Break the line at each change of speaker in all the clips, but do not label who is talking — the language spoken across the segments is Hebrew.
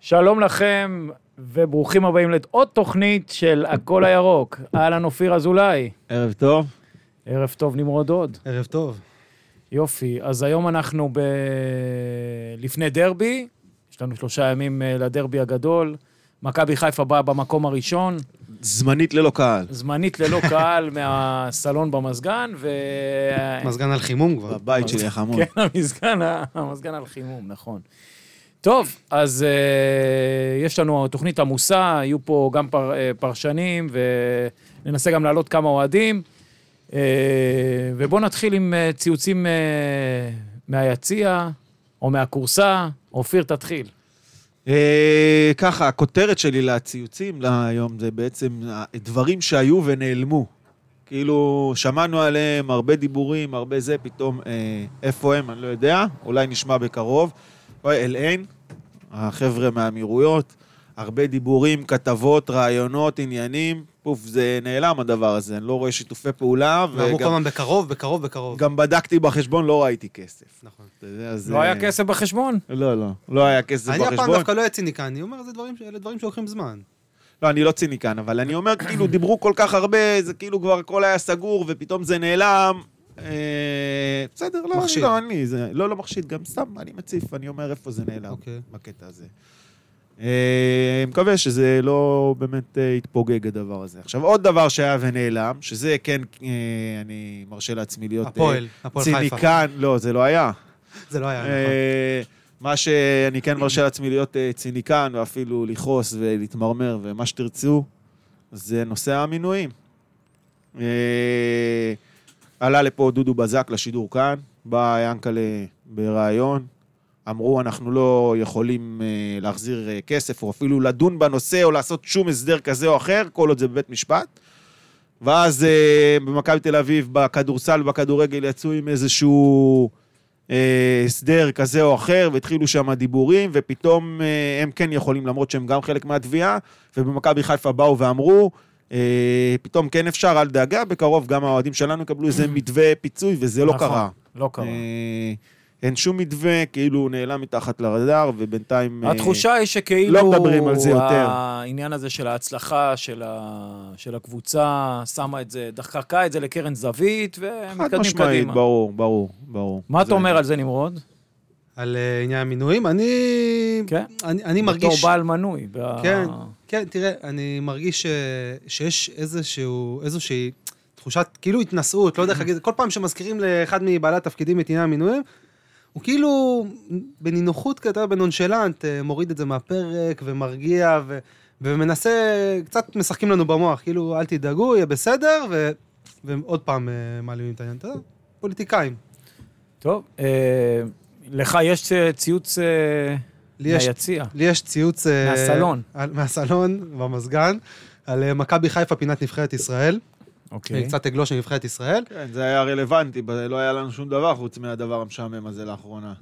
שלום לכם, וברוכים הבאים לעוד תוכנית של הכל הירוק. אהלן, אופיר אזולאי.
ערב טוב.
ערב טוב, נמרוד הוד.
ערב טוב.
יופי, אז היום אנחנו ב... לפני דרבי, יש לנו שלושה ימים אה, לדרבי הגדול. מכבי חיפה באה במקום הראשון,
זמנית ללא קהל.
זמנית ללא קהל מהסלון במזגן, ו...
מזגן על חימום כבר.
בבית שלי החמוד.
כן, המזגן, ה- המזגן על חימום, נכון. טוב, אז אה, יש לנו תוכנית עמוסה, יהיו פה גם פר, אה, פרשנים, וננסה גם להעלות כמה אוהדים. אה, ובואו נתחיל עם אה, ציוצים אה, מהיציע, או מהכורסה. אופיר, תתחיל.
אה, ככה, הכותרת שלי לציוצים להיום זה בעצם דברים שהיו ונעלמו. כאילו, שמענו עליהם הרבה דיבורים, הרבה זה, פתאום אה, איפה הם, אני לא יודע, אולי נשמע בקרוב. אוי, אל-עין, החבר'ה מהאמירויות, הרבה דיבורים, כתבות, רעיונות, עניינים, פוף, זה נעלם הדבר הזה, אני לא רואה שיתופי
לא,
פעולה,
אמרו כל
וגם
הזמן בקרוב, בקרוב, בקרוב.
גם בדקתי בחשבון, לא ראיתי כסף.
נכון.
אתה יודע, אז,
לא היה
אה,
כסף בחשבון?
לא, לא. לא היה כסף
אני הפעם
בחשבון.
דווקא לא אהיה ציניקני, אומר, זה דברים ש- אלה דברים שלוקחים זמן.
לא, אני לא ציניקן, אבל אני אומר, כאילו, דיברו כל כך הרבה, זה כאילו כבר הכל היה סגור, ופתאום זה נעלם. אה, בסדר, לא, אני
מחשיד.
לא, אני, זה- לא, לא מחשיד, גם סתם, אני מציף, אני אומר איפה זה נעלם,
אוקיי.
בקטע הזה. אה, מקווה שזה לא באמת אה, יתפוגג הדבר הזה. עכשיו, עוד דבר שהיה ונעלם, שזה כן, אה, אני מרשה לעצמי להיות... אה,
הפועל, הפועל חיפה.
ציניקן, לא, זה לא היה.
זה לא היה. נכון.
אה, מה שאני כן מרשה לעצמי להיות אה, ציניקן, ואפילו לכעוס ולהתמרמר ומה שתרצו, זה נושא המינויים. אה, עלה לפה דודו בזק לשידור כאן, בא ינקלה בריאיון, אמרו, אנחנו לא יכולים אה, להחזיר אה, כסף, או אפילו לדון בנושא, או לעשות שום הסדר כזה או אחר, כל עוד זה בבית משפט. ואז אה, במכבי תל אביב, בכדורסל, בכדורגל, יצאו עם איזשהו אה, הסדר כזה או אחר, והתחילו שם דיבורים, ופתאום אה, הם כן יכולים, למרות שהם גם חלק מהתביעה, ובמכבי חיפה באו ואמרו, אה, פתאום כן אפשר, אל דאגה, בקרוב גם האוהדים שלנו יקבלו איזה מתווה פיצוי, וזה לא
נכון,
קרה.
לא קרה.
אה, אין שום מתווה, כאילו הוא נעלם מתחת לרדאר, ובינתיים... אה,
התחושה היא שכאילו...
לא מדברים על זה יותר.
העניין הזה של ההצלחה של, ה... של הקבוצה, שמה את זה, דחקה את זה לקרן זווית,
חד
ומתקדמים
משמעית,
קדימה.
ברור, ברור, ברור.
מה אתה
זה-
אומר על זה, נמרוד?
על אה, עניין המינויים, אני...
כן.
אני- אני
בתור
מרגיש...
בעל מנוי. ב-
כן, כן, תראה, אני מרגיש ש- שיש איזשהו, איזושהי תחושת, כאילו התנשאות, לא יודע איך להגיד, כל פעם שמזכירים לאחד מבעלי התפקידים את עניין המינויים, הוא כאילו בנינוחות כזה, בנונשלנט, אה, מוריד את זה מהפרק ומרגיע ו, ומנסה, קצת משחקים לנו במוח, כאילו, אל תדאגו, יהיה בסדר, ו, ועוד פעם אה, מעלימים את העניין, אתה יודע, פוליטיקאים.
טוב, אה, לך יש אה, ציוץ אה,
לי יש-
מהיציע.
לי יש ציוץ... אה,
מהסלון.
על, מהסלון, במזגן, על אה, מכבי חיפה פינת נבחרת ישראל.
אוקיי.
קצת אגלוש של נבחרת ישראל.
כן, זה היה רלוונטי, ב- לא היה לנו שום דבר חוץ מהדבר המשעמם הזה לאחרונה.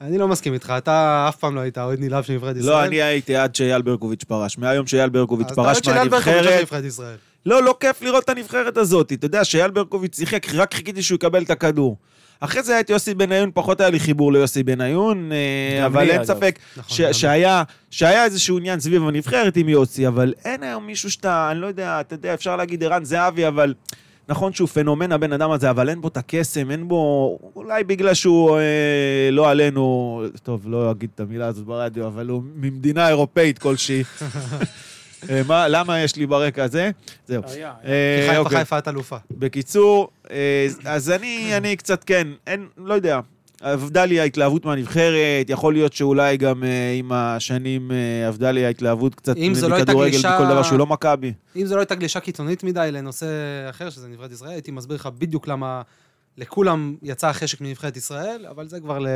אני לא מסכים איתך, אתה אף פעם לא היית אוהד נלהב של נבחרת ישראל.
לא, אני הייתי עד שאייל ברקוביץ' פרש. מהיום שאייל ברקוביץ' פרש
אז אתה אוהד של אלברט הוא של
מהנבחרת,
נבחרת ישראל.
לא, לא כיף לראות את הנבחרת הזאת. אתה יודע, שאייל ברקוביץ' שיחק, רק חיכיתי שהוא יקבל את הכדור. אחרי זה היה את יוסי בניון, פחות היה לי חיבור ליוסי בניון, אה,
גם
אבל
לי,
אין
אגב.
ספק
נכון,
ש-
גם לי.
שהיה שהיה איזשהו עניין סביב הנבחרת עם יוסי, אבל אין היום מישהו שאתה, אני לא יודע, אתה יודע, אפשר להגיד ערן זהבי, אבל... נכון שהוא פנומן, הבן אדם הזה, אבל אין בו את הקסם, אין בו... אולי בגלל שהוא, אה, לא עלינו, טוב, לא אגיד את המילה הזאת ברדיו, אבל הוא ממדינה אירופאית כלשהי. אה, מה, למה יש לי ברקע הזה? זהו.
היה, היה.
אה,
כי חיפה
אוקיי.
חיפה את אלופה.
בקיצור, אה, אז אני, אני קצת כן, אין, לא יודע. עבדה לי ההתלהבות מהנבחרת, יכול להיות שאולי גם אה, עם השנים אה, עבדה לי ההתלהבות קצת
אם זה לא הייתה
מכדורגל,
גלישה-
מכל דבר שהוא לא מכבי.
אם זו לא הייתה גלישה קיצונית מדי לנושא אחר, שזה נבחרת ישראל, הייתי מסביר לך בדיוק למה לכולם יצא החשק מנבחרת ישראל, אבל זה כבר ל-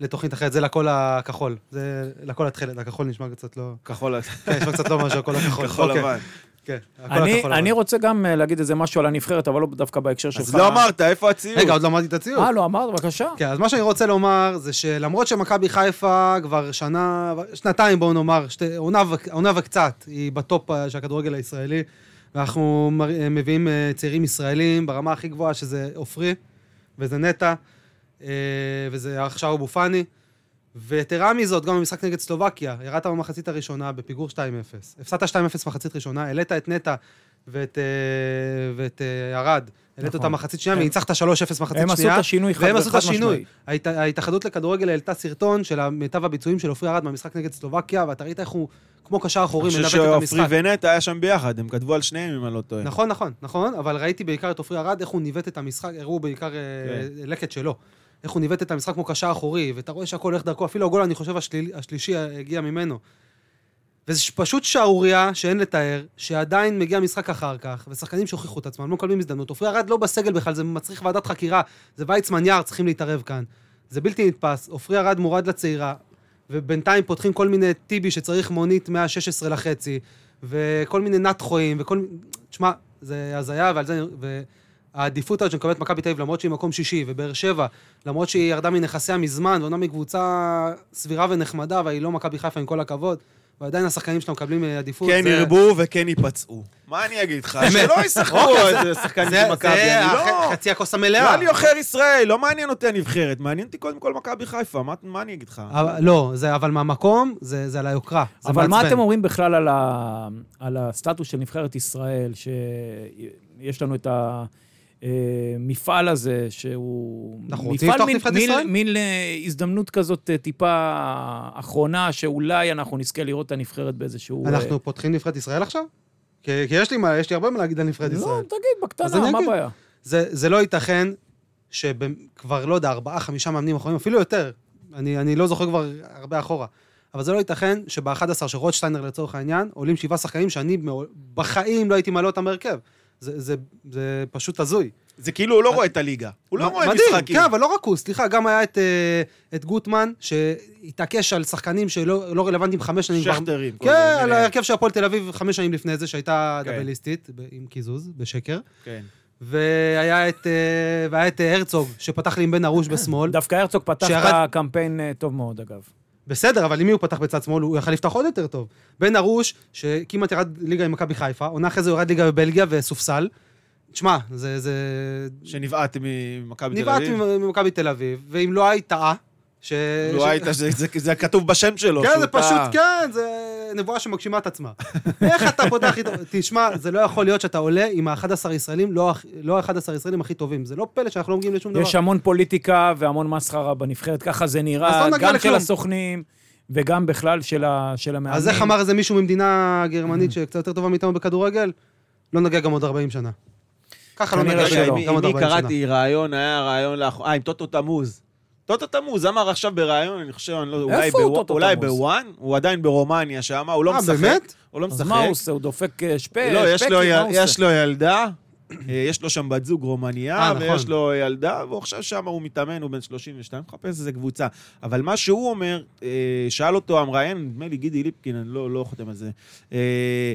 לתוכנית אחרת, זה לכל הכחול. זה לכל התכלת, הכחול נשמע קצת לא...
כחול
כן, נשמע קצת לא משהו, הכל הכחול.
כחול
אוקיי,
לבן.
כן, הכל
אני,
הכחול
אני
לבן.
רוצה גם אה, להגיד איזה משהו על הנבחרת, אבל לא דווקא בהקשר שלך.
אז לא אמרת, איפה הציור?
רגע, עוד לא אמרתי את הציור.
אה, לא אמרת? בבקשה.
כן, אז מה שאני רוצה לומר זה שלמרות שמכבי חיפה כבר שנה, שנתיים בואו נאמר, שתי, עונה, ו- עונה וקצת, היא בטופ אה, של הכדורגל הישראלי, ואנחנו מר- אה, מביאים אה, צעירים ישראלים ברמה הכי גבוהה, שזה עופרי, וזה נטע, אה, וזה עכשיו אבו פאני. ויתרה מזאת, גם במשחק נגד סלובקיה, ירדת במחצית הראשונה בפיגור 2-0. הפסדת 2-0 מחצית ראשונה, העלית את נטע ואת, אה, ואת אה, ארד, העלית
נכון.
אותה מחצית שנייה,
הם-
וניצחת 3-0 מחצית שנייה.
הם עשו את השינוי חד
והם עשו את
וחד
השינוי.
משמעי.
ההת... ההתאחדות לכדורגל העלתה סרטון של מיטב הביצועים של עופרי ארד מהמשחק נגד סלובקיה, ואתה ראית איך הוא, כמו קשר
אני
אחורי,
חושב
מנווט את
שעופרי
המשחק.
ונטע היה שם ביחד, הם כתבו על שניהם, אם אני לא טועה.
נכון, נכון, נכון, אבל ראיתי בעיקר את עופרי ארד, איך הוא ניווט את המשחק, הראו בעיקר כן. לקט שלו. איך הוא ניווט את המשחק כמו קשר אחורי, ואתה רואה שהכל הולך דרכו, אפילו הגול, אני חושב, השליל, השלישי אה, הגיע ממנו. וזה ש- פשוט שערורייה שאין לתאר, שעדיין מגיע משחק אחר כך, ושחקנים שהוכיחו את עצמם, לא מקבלים הזדמנות. עופרי ארד לא בסגל בכלל, זה מצריך ועדת חקירה, זה ויצמן יער, צריכים להתערב כאן. זה בלתי נתפס, עופרי ארד מורד לצעירה, ובינתיים פותחים כל מיני טיבי שצריך מונית 116 לחצי, וכל מיני נתחויים, וכל מיני... תשמע, זה הזיה, ועל זה... ו... העדיפות הזאת שמקבלת מכבי תל אביב, למרות שהיא מקום שישי, ובאר שבע, למרות שהיא ירדה מנכסיה מזמן, ואומנם היא קבוצה סבירה ונחמדה, אבל היא לא מכבי חיפה, עם כל הכבוד, ועדיין השחקנים שלה מקבלים אה, עדיפות.
כן
זה-
ירבו אוקיי, וכן ייפצעו. מה אני אגיד לך? שלא ישחקו איזה שחקן
אוקיי, זה-
של מכבי,
זה
אני
הח-
לא...
חצי הכוס
לא
המלאה.
אני עוכר ישראל, לא מעניין אותי הנבחרת, מעניין אותי קודם כל מכבי חיפה, מה- מה אני אגיד לך?
אבל- לא, זה- אבל מהמקום, זה זה על היוקרה. זה
אבל מה
מעצבן.
אתם אומרים בכלל על, ה... על הסטטוס של נבחרת ישראל, שיש לנו את המפעל הזה, שהוא...
אנחנו רוצים לפתוח
מין-
נבחרת
מין-
ישראל?
מין אה, הזדמנות כזאת אה, טיפה אחרונה, שאולי אנחנו נזכה לראות את הנבחרת באיזשהו... אה,
אנחנו פותחים נבחרת ישראל עכשיו? כי כי יש לי מה- יש לי הרבה מה להגיד על נבחרת
לא,
ישראל.
תגיד,
אז אני
בקטנה, מה
אגיד.
הבעיה?
זה, זה לא ייתכן שכבר, לא יודע, ארבעה, חמישה מאמנים אחרונים, אפילו יותר, אני, אני לא זוכר כבר הרבה אחורה, אבל זה לא ייתכן שב-11 של רוטשטיינר לצורך העניין, עולים שבעה שחקנים שאני מעול- בחיים לא הייתי מעלה אותם בהרכב. זה, זה, זה פשוט הזוי.
זה כאילו הוא לא רואה את הליגה. הוא לא
מ-
רואה
מדהים,
משחקים.
כן, אבל לא רק הוא, סליחה, גם היה את, אה, את גוטמן, שהתעקש על שחקנים שלא לא רלוונטיים חמש שנים כבר.
שכטרים. כל
כן,
זה,
על
מיני-
ההרכב של הפועל תל אביב חמש שנים לפני זה, שהייתה
כן.
דאבליסטית, ב- עם קיזוז, בשקר.
כן.
והיה את, אה, והיה את אה, הרצוג, שפתח לי עם בן ארוש בשמאל.
דווקא הרצוג פתח
שירד-
את הקמפיין אה, טוב מאוד, אגב.
בסדר, אבל עם מי הוא פתח בצד שמאל? הוא יכל לפתוח עוד יותר טוב. בן ארוש, שכמעט ירד ליגה עם מכבי חיפה, עונה אחרי זה הוא ירד ליגה בבלגיה וסופסל. תשמע, זה... זה...
שנבעט ממכבי תל
נבעט
אביב.
ממכבי תל אביב, ואם לא הייתה, ש...
לא
ש-
היית, זה- זה- זה כתוב בשם שלו.
כן,
שהוא
זה
טעה.
פשוט, כן, זה נבואה שמגשימה את עצמה. איך אתה פותח איתו... תשמע, זה לא יכול להיות שאתה עולה עם ה-11 ישראלים, לא הכ- לא ה-11 ישראלים הכי טובים. זה לא פלא שאנחנו לא מגיעים לשום דבר.
יש המון פוליטיקה והמון מסחרה בנבחרת, ככה זה נראה,
אז לא נגיע
גם של
לכלום.
הסוכנים וגם בכלל של ה- של המאמנים.
אז איך אמר איזה מישהו ממדינה גרמנית שקצת יותר טובה מאיתנו בכדורגל? לא נגיע גם עוד 40 שנה. ככה לא
כנראה
נגיע
שלא.
רגע, עם
שלו,
מי-
גם
עם
עוד
מי
40 שנה.
קראתי רעיון, היה רעיון לאחרונה, אה, עם טוטו תמוז. טוטו תמוז אמר עכשיו ברעיון, אני חושב, אני לא יודע, אולי
איפה הוא
בוו-
טוטו
אולי
תמוז?
בוואן, הוא עדיין ברומניה שם, הוא לא
אה,
משחק.
באמת?
הוא לא
אז
משחק.
מה הוא עושה? הוא דופק אה, שפה?
לא, יש לו
שפקים, מה
יל-
הוא עושה?
יש לו ילדה, אה, יש לו שם בת זוג רומניה,
אה, נכון.
ויש לו ילדה, והוא עכשיו שם, הוא מתאמן, הוא בן 32, מחפש איזה קבוצה. אבל מה שהוא אומר, אה, שאל אותו המראיין, נדמה לי גידי ליפקין, אני לא לא חותם על זה, אה,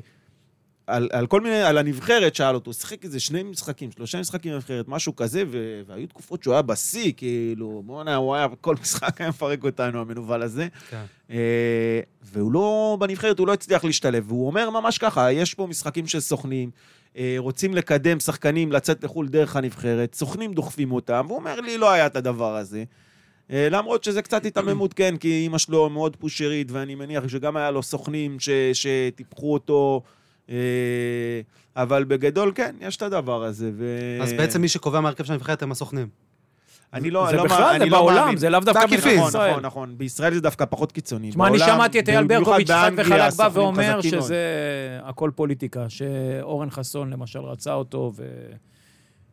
על, על כל מיני, על הנבחרת, שאל אותו, שיחק איזה שני משחקים, שלושה משחקים בנבחרת, משהו כזה, ו, והיו תקופות שהוא היה בשיא, כאילו, בואנה, הוא היה, כל משחק היה מפרק אותנו, המנוול הזה.
כן.
אה, והוא לא, בנבחרת הוא לא הצליח להשתלב, והוא אומר ממש ככה, יש פה משחקים של סוכנים, אה, רוצים לקדם שחקנים לצאת לחו"ל דרך הנבחרת, סוכנים דוחפים אותם, והוא אומר לי, לא היה את הדבר הזה. אה, למרות שזה קצת היתממות, כן, כי אימא שלו מאוד פושרית, ואני מניח שגם היה לו סוכנים ש, שטיפחו אותו, אה, אבל בגדול, כן, יש את הדבר הזה. ו...
אז בעצם מי שקובע מהרכב של הנבחרת הם הסוכנים.
אני לא,
זה
לא,
בכלל,
אני
זה
לא
בעולם,
מאמין.
זה לאו דווקא
בעקיפין.
בנבחרת
נכון,
ישראל.
נכון, נכון. בישראל זה דווקא פחות קיצוני.
תשמע, אני
בעולם,
שמעתי את אייל
במיוחד
ברקוביץ' חד
באנגליה,
וחלק בא
הסוכנים
ואומר
חזקים מאוד.
שזה הכל פוליטיקה, שאורן חסון למשל רצה אותו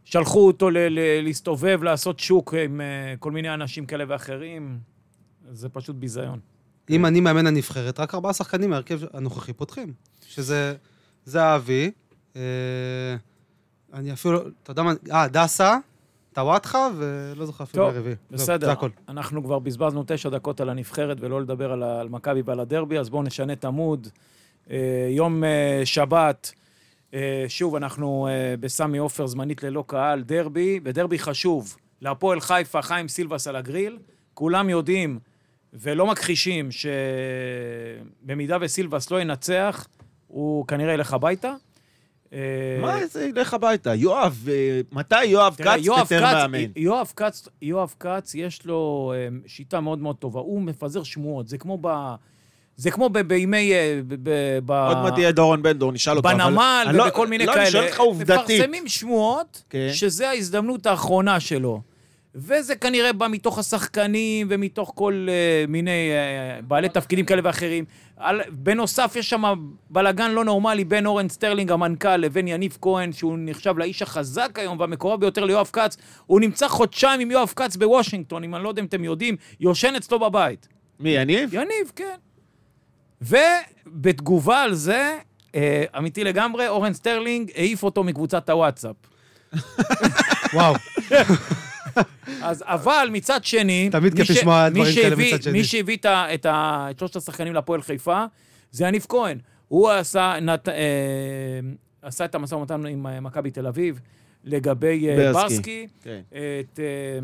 ושלחו אותו ל- ל- להסתובב, לעשות שוק עם אה, כל מיני אנשים כאלה ואחרים. זה פשוט ביזיון.
אם אני מאמן הנבחרת, רק ארבעה שחקנים מההרכב הנוכחי פותחים. שזה... זה האבי, אה, אני אפילו... אתה יודע מה... אה, דסה, טוואטחה, ולא זוכר אפילו
טוב,
הרביעי. זהו, זה
בסדר,
הכל.
אנחנו כבר בזבזנו תשע דקות על הנבחרת ולא לדבר על, ה- על מכבי ועל הדרבי, אז בואו נשנה את עמוד. אה, יום אה, שבת, אה, שוב, אנחנו אה, בסמי עופר זמנית ללא קהל, דרבי, ודרבי חשוב. להפועל חיפה, חיים סילבס על הגריל. כולם יודעים ולא מכחישים שבמידה וסילבס לא ינצח, הוא כנראה ילך הביתה. אה, אה,
מה זה, לך הביתה. יואב, אה, מתי יואב
תראה,
כץ
יואב
פיטר
כץ-
מאמן?
יואב כץ, יואב כץ, יש לו אה, שיטה מאוד מאוד טובה. הוא מפזר שמועות. זה כמו ב... זה כמו ב- בימי... אה, ב- ב- ב-
עוד מעט יהיה דורון בן דור, נשאל אותו. אבל-
בנמל
אני לא-
ובכל מיני
לא,
כאלה.
אני שואל אותך עובדתית.
מפרסמים שמועות
כן.
שזה ההזדמנות האחרונה שלו. וזה כנראה בא מתוך השחקנים ומתוך כל uh, מיני uh, בעלי תפקידים כאלה ואחרים. על, בנוסף, יש שם בלגן לא נורמלי בין אורן סטרלינג, המנכ"ל, לבין יניב כהן, שהוא נחשב לאיש החזק היום והמקורב ביותר ליואב כץ. הוא נמצא חודשיים עם יואב כץ בוושינגטון, אם אני לא יודע אם אתם יודעים, יושן אצלו בבית.
מי, יניב?
יניב, כן. ובתגובה על זה, אה, אמיתי לגמרי, אורן סטרלינג העיף אותו מקבוצת הוואטסאפ.
וואו.
אז אבל מצד שני...
תמיד
מי
כיף
ש-
לשמוע
מי
דברים כאלה
שהביא-
מצד שני.
מי שהביא את ה- את ה- את שלושת השחקנים להפועל חיפה זה יניב כהן. הוא עשה נת- אה, עשה את המשא ומתן עם אה, מכבי תל אביב לגבי אה,
ברסקי.
ברסקי.
כן.
את... אה,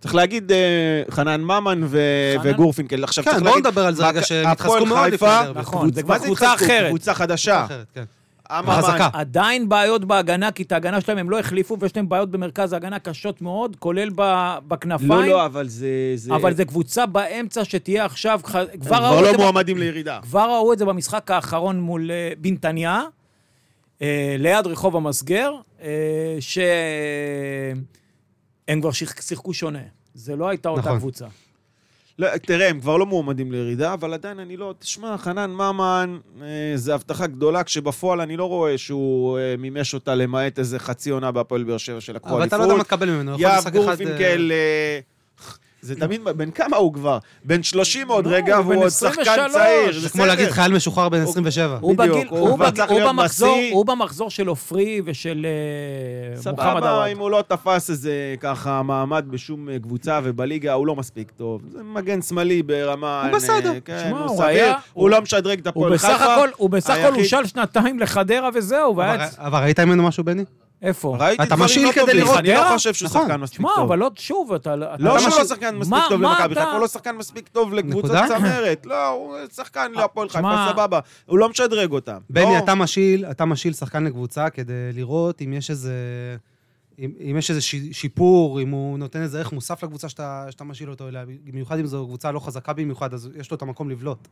צריך להגיד אה, חנן ממן ו-
חנן-
וגורפינקל. עכשיו
כן,
צריך
בואו
להגיד...
נדבר על זה רגע,
מכ-
שהם התחזקו
הפועל
מאוד לפני
חיפה,
הדרבי.
נכון, זה
מה
כבר קבוצה
התחזקו?
אחרת.
קבוצה חדשה.
אחרת, כן.
אממה,
חזקה.
עדיין בעיות בהגנה, כי את ההגנה שלהם הם לא החליפו, ויש להם בעיות במרכז ההגנה קשות מאוד, כולל ב- בכנפיים.
לא, לא, אבל זה... זה-
אבל זו קבוצה באמצע שתהיה עכשיו, ח-
הם
כבר
כבר
ראו את
לא
זה ב-
מועמדים לירידה.
כבר ראו את זה במשחק האחרון מול אה, בנתניה, אה, ליד רחוב המסגר, אה, שהם כבר שיח- שיחקו שונה. זה לא הייתה אותה
נכון.
קבוצה.
לא, תראה, הם כבר לא מועמדים לירידה, אבל עדיין אני לא... תשמע, חנן ממן, אה, זו הבטחה גדולה, כשבפועל אני לא רואה שהוא אה, מימש אותה, למעט איזה חצי עונה בהפועל באר שבע של הקואליפות.
אבל אתה לא יודע מה תקבל ממנו. יכול
יהב
משחק אחד, אה,
גורפינקל... אה, זה תמיד, בן כמה הוא כבר? בן 30 עוד
לא,
רגע,
הוא
והוא
בן
עוד שחקן
23.
צעיר.
זה
זה
בסדר.
כמו להגיד חייל משוחרר בן 27.
הוא
בדיוק,
בגיל-
הוא
הוא
כבר
בג-
צריך
הוא
להיות
במחזור-
בשיא.
הוא במחזור של עופרי ושל אה, מוחמד
סבבה,
עוואד.
אם הוא לא תפס איזה ככה מעמד בשום אה, קבוצה ובליגה, הוא לא מספיק טוב. זה מגן שמאלי ברמה...
הוא בסדר.
אה, כן,
שמע,
הוא
הוא
סביר.
היה-
הוא לא משדרג את
הוא
הפועל
בסך
חיפה.
הכל, הוא בסך הכל
היחיד-
הושל שנתיים לחדרה וזהו,
אבל-
ואז...
אבל ראית ממנו משהו, בני?
איפה?
ראיתי
אתה
דברים
משיל
לא
כדי
טובים,
לראות,
אני לא
אה?
חושב שהוא
נכון.
שחקן מספיק
שמע,
טוב.
אבל לא, שוב, אתה... אתה-
לא
אתה
שהוא
משהו-
לא שחקן מספיק
מה-
טוב
מה
למכבי
אתה-
חיפה, הוא לא שחקן מספיק טוב לקבוצת
נקודה? אה,
צמרת. לא, הוא שחקן להפועל חיפה,
שמע-
סבבה. הוא לא משדרג אותם.
בני,
לא-
אתה משיל, אתה משיל שחקן לקבוצה כדי לראות אם יש איזה... אם, אם יש איזה ש, שיפור, אם הוא נותן איזה ערך מוסף לקבוצה שאתה, שאתה משיל אותו אליה, במיוחד אם זו קבוצה לא חזקה במיוחד, אז יש לו את המקום לבלוט.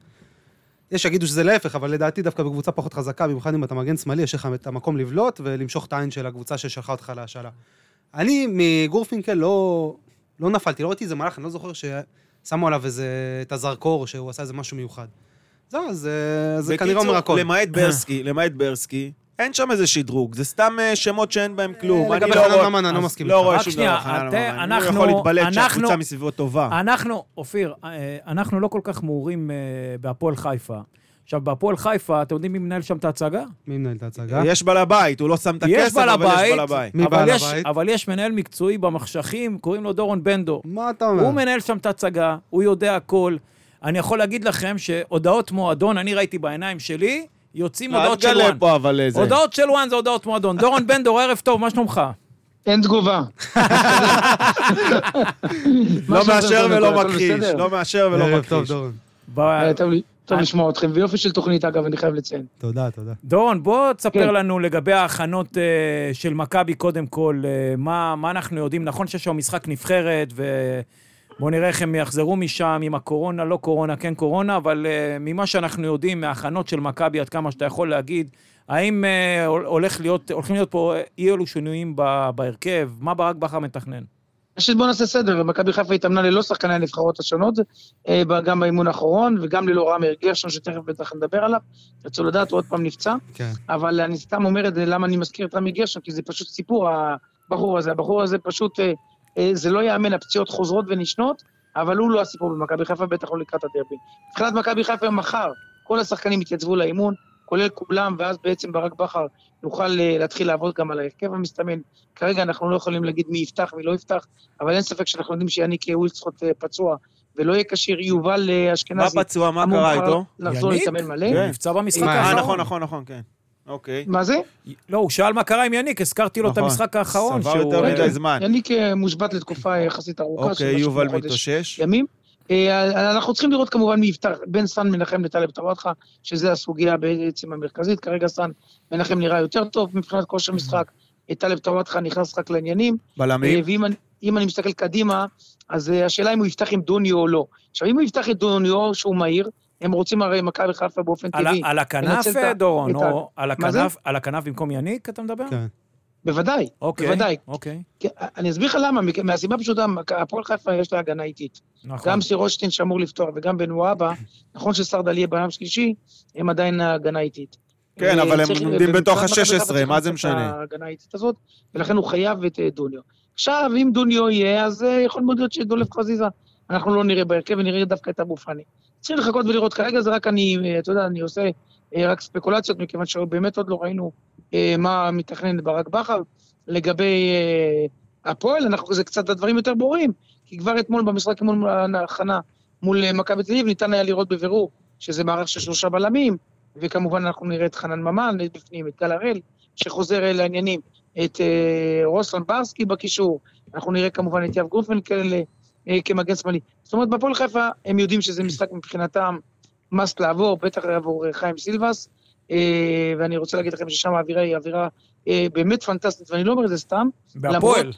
יש שיגידו שזה להפך, אבל לדעתי דווקא בקבוצה פחות חזקה, במיוחד אם אתה מגן שמאלי, יש לך את המקום לבלוט ולמשוך את העין של הקבוצה ששלחה אותך להשאלה. אני מגורפינקל לא, לא נפלתי, לא ראיתי איזה מהלך, אני לא זוכר ששמו עליו איזה, את הזרקור, שהוא עשה איזה משהו מיוחד. זהו, אז, אה, זה כנראה אומר
בקיצור,
הכל. אה.
למעט ברסקי, למעט ברסקי, אין שם איזה שדרוג, זה סתם אה, שמות שאין בהם כלום.
לגבי
אני לא
חנן
רואה-
ממן, אני לא
אז
מסכים
לא
איתך. אה,
רואה
רק
שום
שנייה,
דבר חנן
אתה-
ממן. הוא
אנחנו-
יכול להתבלט שהקבוצה
אנחנו-
מסביבו טובה.
אנחנו, אופיר, אה, אנחנו לא כל כך מעורים אה, בהפועל חיפה. עכשיו, בהפועל חיפה, אתם יודעים מי מנהל שם את ההצגה?
מי מנהל את ההצגה?
יש בעל הבית, הוא לא שם את הכסף,
בעל
אבל יש
הבית.
בעל הבית.
מי
אבל
בעל
יש-
הבית?
אבל יש מנהל מקצועי במחשכים, קוראים לו דורון בנדו.
מה אתה
הוא
אומר?
מנהל שם את ההצגה, הוא יודע הכל. אני יכול להגיד לכם שהודעות מועדון, אני ראיתי בעיניים שלי, יוצאים
אל
הודעות של
תגלה
וואן.
אה, פה אבל אה, איזה...
הודעות של וואן זה הודעות מועדון. דורון בן דור, ערב טוב, מה שלומך?
אין תגובה.
לא מאשר ולא
הכל
מכחיש,
בסדר?
לא מאשר ולא
ערב טוב,
מכחיש.
דורון.
ב-
אה, טוב לי- טוב
אה.
לשמוע אתכם, ויופי של תוכנית אגב, אני חייב לציין.
תודה, תודה.
דורון, בוא תספר
כן.
לנו לגבי ההכנות אה, של מכבי קודם כל, אה, מה מה אנחנו יודעים. נכון שיש שם משחק נבחרת, ובואו נראה איך הם יחזרו משם, עם הקורונה, לא קורונה, כן קורונה, אבל אה, ממה שאנחנו יודעים, מההכנות של מכבי, עד כמה שאתה יכול להגיד, האם אה, הולך להיות, הולכים להיות פה אי אלו שינויים ב- בהרכב? מה ברק בכר מתכנן?
ראשית בואו נעשה סדר, מכבי חיפה התאמנה ללא שחקני הנבחרות השונות, אה, ב- גם באימון האחרון וגם ללא רמי גרשון, שתכף בטח נדבר עליו. תרצו לדעת, הוא עוד פעם נפצע,
כן.
אבל אני סתם אומר את זה, למה אני מזכיר את רמי גרשון, כי זה פשוט סיפור, הבחור הזה. הבחור הזה פשוט, אה, אה, זה לא ייאמן, הפציעות חוזרות ונשנות, אבל הוא לא הסיפור במכבי חיפה, בטח לא לקראת הדרבי. מבחינת מכבי חיפה מחר, כל השחקנים יתייצבו לאימון, כולל כולם, ואז בעצם ברק בכר יוכל אה, להתחיל לעבוד גם על ההרכב המסתמן. כרגע אנחנו לא יכולים להגיד מי יפתח, מי לא יפתח, אבל אין ספק שאנחנו יודעים שיניק ווילסקוט אה, פצוע, ולא יהיה כשיר יובל אה,
כן,
מה
אשכנזי.
פצוע, מה
אמור
קרה
מחר
איתו?
לחזור
יניק?
להתאמן מלא.
הוא נפצע במשחק
מה,
אה,
האחרון.
נכון, נכון, נכון, כן. אוקיי.
מה זה?
לא, הוא שאל מה קרה עם יניק, הזכרתי לו את
נכון.
המשחק האחרון.
סבל
שהוא- כן.
יותר
רגע,
מדי זמן.
יניק אה, מושבת לתקופה יחסית ארוכה. של
אוקיי,
משהו כמו
יובל
חודש
כן.
מתאושש.
ימים, אה, אנחנו צריכים לראות כמובן מי יפתח בין סאן מנחם לטלב טוואטחה, שזה הסוגיה בעצם המרכזית. כרגע סאן מנחם נראה יותר טוב מבחינת כושר משחק. אה, טלב טוואטחה נכנס רק לעניינים. אה,
בלמים?
ואם אני, אם אני מסתכל קדימה, אז אה, השאלה אם הוא יפתח עם דוניו או לא. עכשיו, אם הוא יפתח את דוניו, שהוא מהיר, הם רוצים הרי מכבי חיפה באופן
על ה-
טבעי.
על הכנף,
לנצל את ה-
דורון,
את ה-
או על
מה זה?
הכנף- על הכנף במקום יניק, אתה מדבר?
כן.
בוודאי,
אוקיי,
בוודאי.
אוקיי,
כי- אה, אני אסביר לך למה, מכ- מהסיבה הפשוטה, מכ- הפועל חיפה יש לה הגנה איטית.
נכון.
גם סירושטיין שאמור לפתוח וגם בן וואבה, נכון שסרדל יהיה בעולם שלישי, הם עדיין ההגנה איטית.
כן,
אה,
אבל הם
צריך-
עומדים
ומבחינת
בתוך
מכבי חיפה
ה-16,
צריך
מה זה
לנצל את
משנה?
ההגנה האיטית הזאת, ולכן הוא חייב את אה, דוניו. עכשיו, אם דוניו יהיה, אז אה, יכול מאוד להיות שדולב חזיזה, אנחנו לא נראה בהרכב ונראה דווקא את אבו פאני. צריכים לחכות ולראות, כרגע זה רק אני, אה, אתה יודע, אני עושה אה, רק ספקולציות, מכיוון שבאמת עוד לא ראינו אה, מה מתכנן ברק בכר. לגבי אה, הפועל, אנחנו, זה קצת הדברים יותר ברורים, כי כבר אתמול במשחק מול ההכנה מול אה, מכבי תל אביב, ניתן היה לראות בבירור שזה מערך של שלושה בלמים, וכמובן אנחנו נראה את חנן ממן את בפנים, את גל הראל, שחוזר אה, לעניינים, את אה, רוסלן ברסקי בקישור, אנחנו נראה כמובן את יאב גרופנקל אה, כמגן שמאלי. זאת אומרת, בהפועל חיפה הם יודעים שזה משחק מבחינתם must לעבור, בטח עבור אה, חיים סילבס, אה, ואני רוצה להגיד לכם ששם האווירה היא אווירה אה, באמת פנטסטית, ואני לא אומר את זה סתם.
בהפועל.
למרות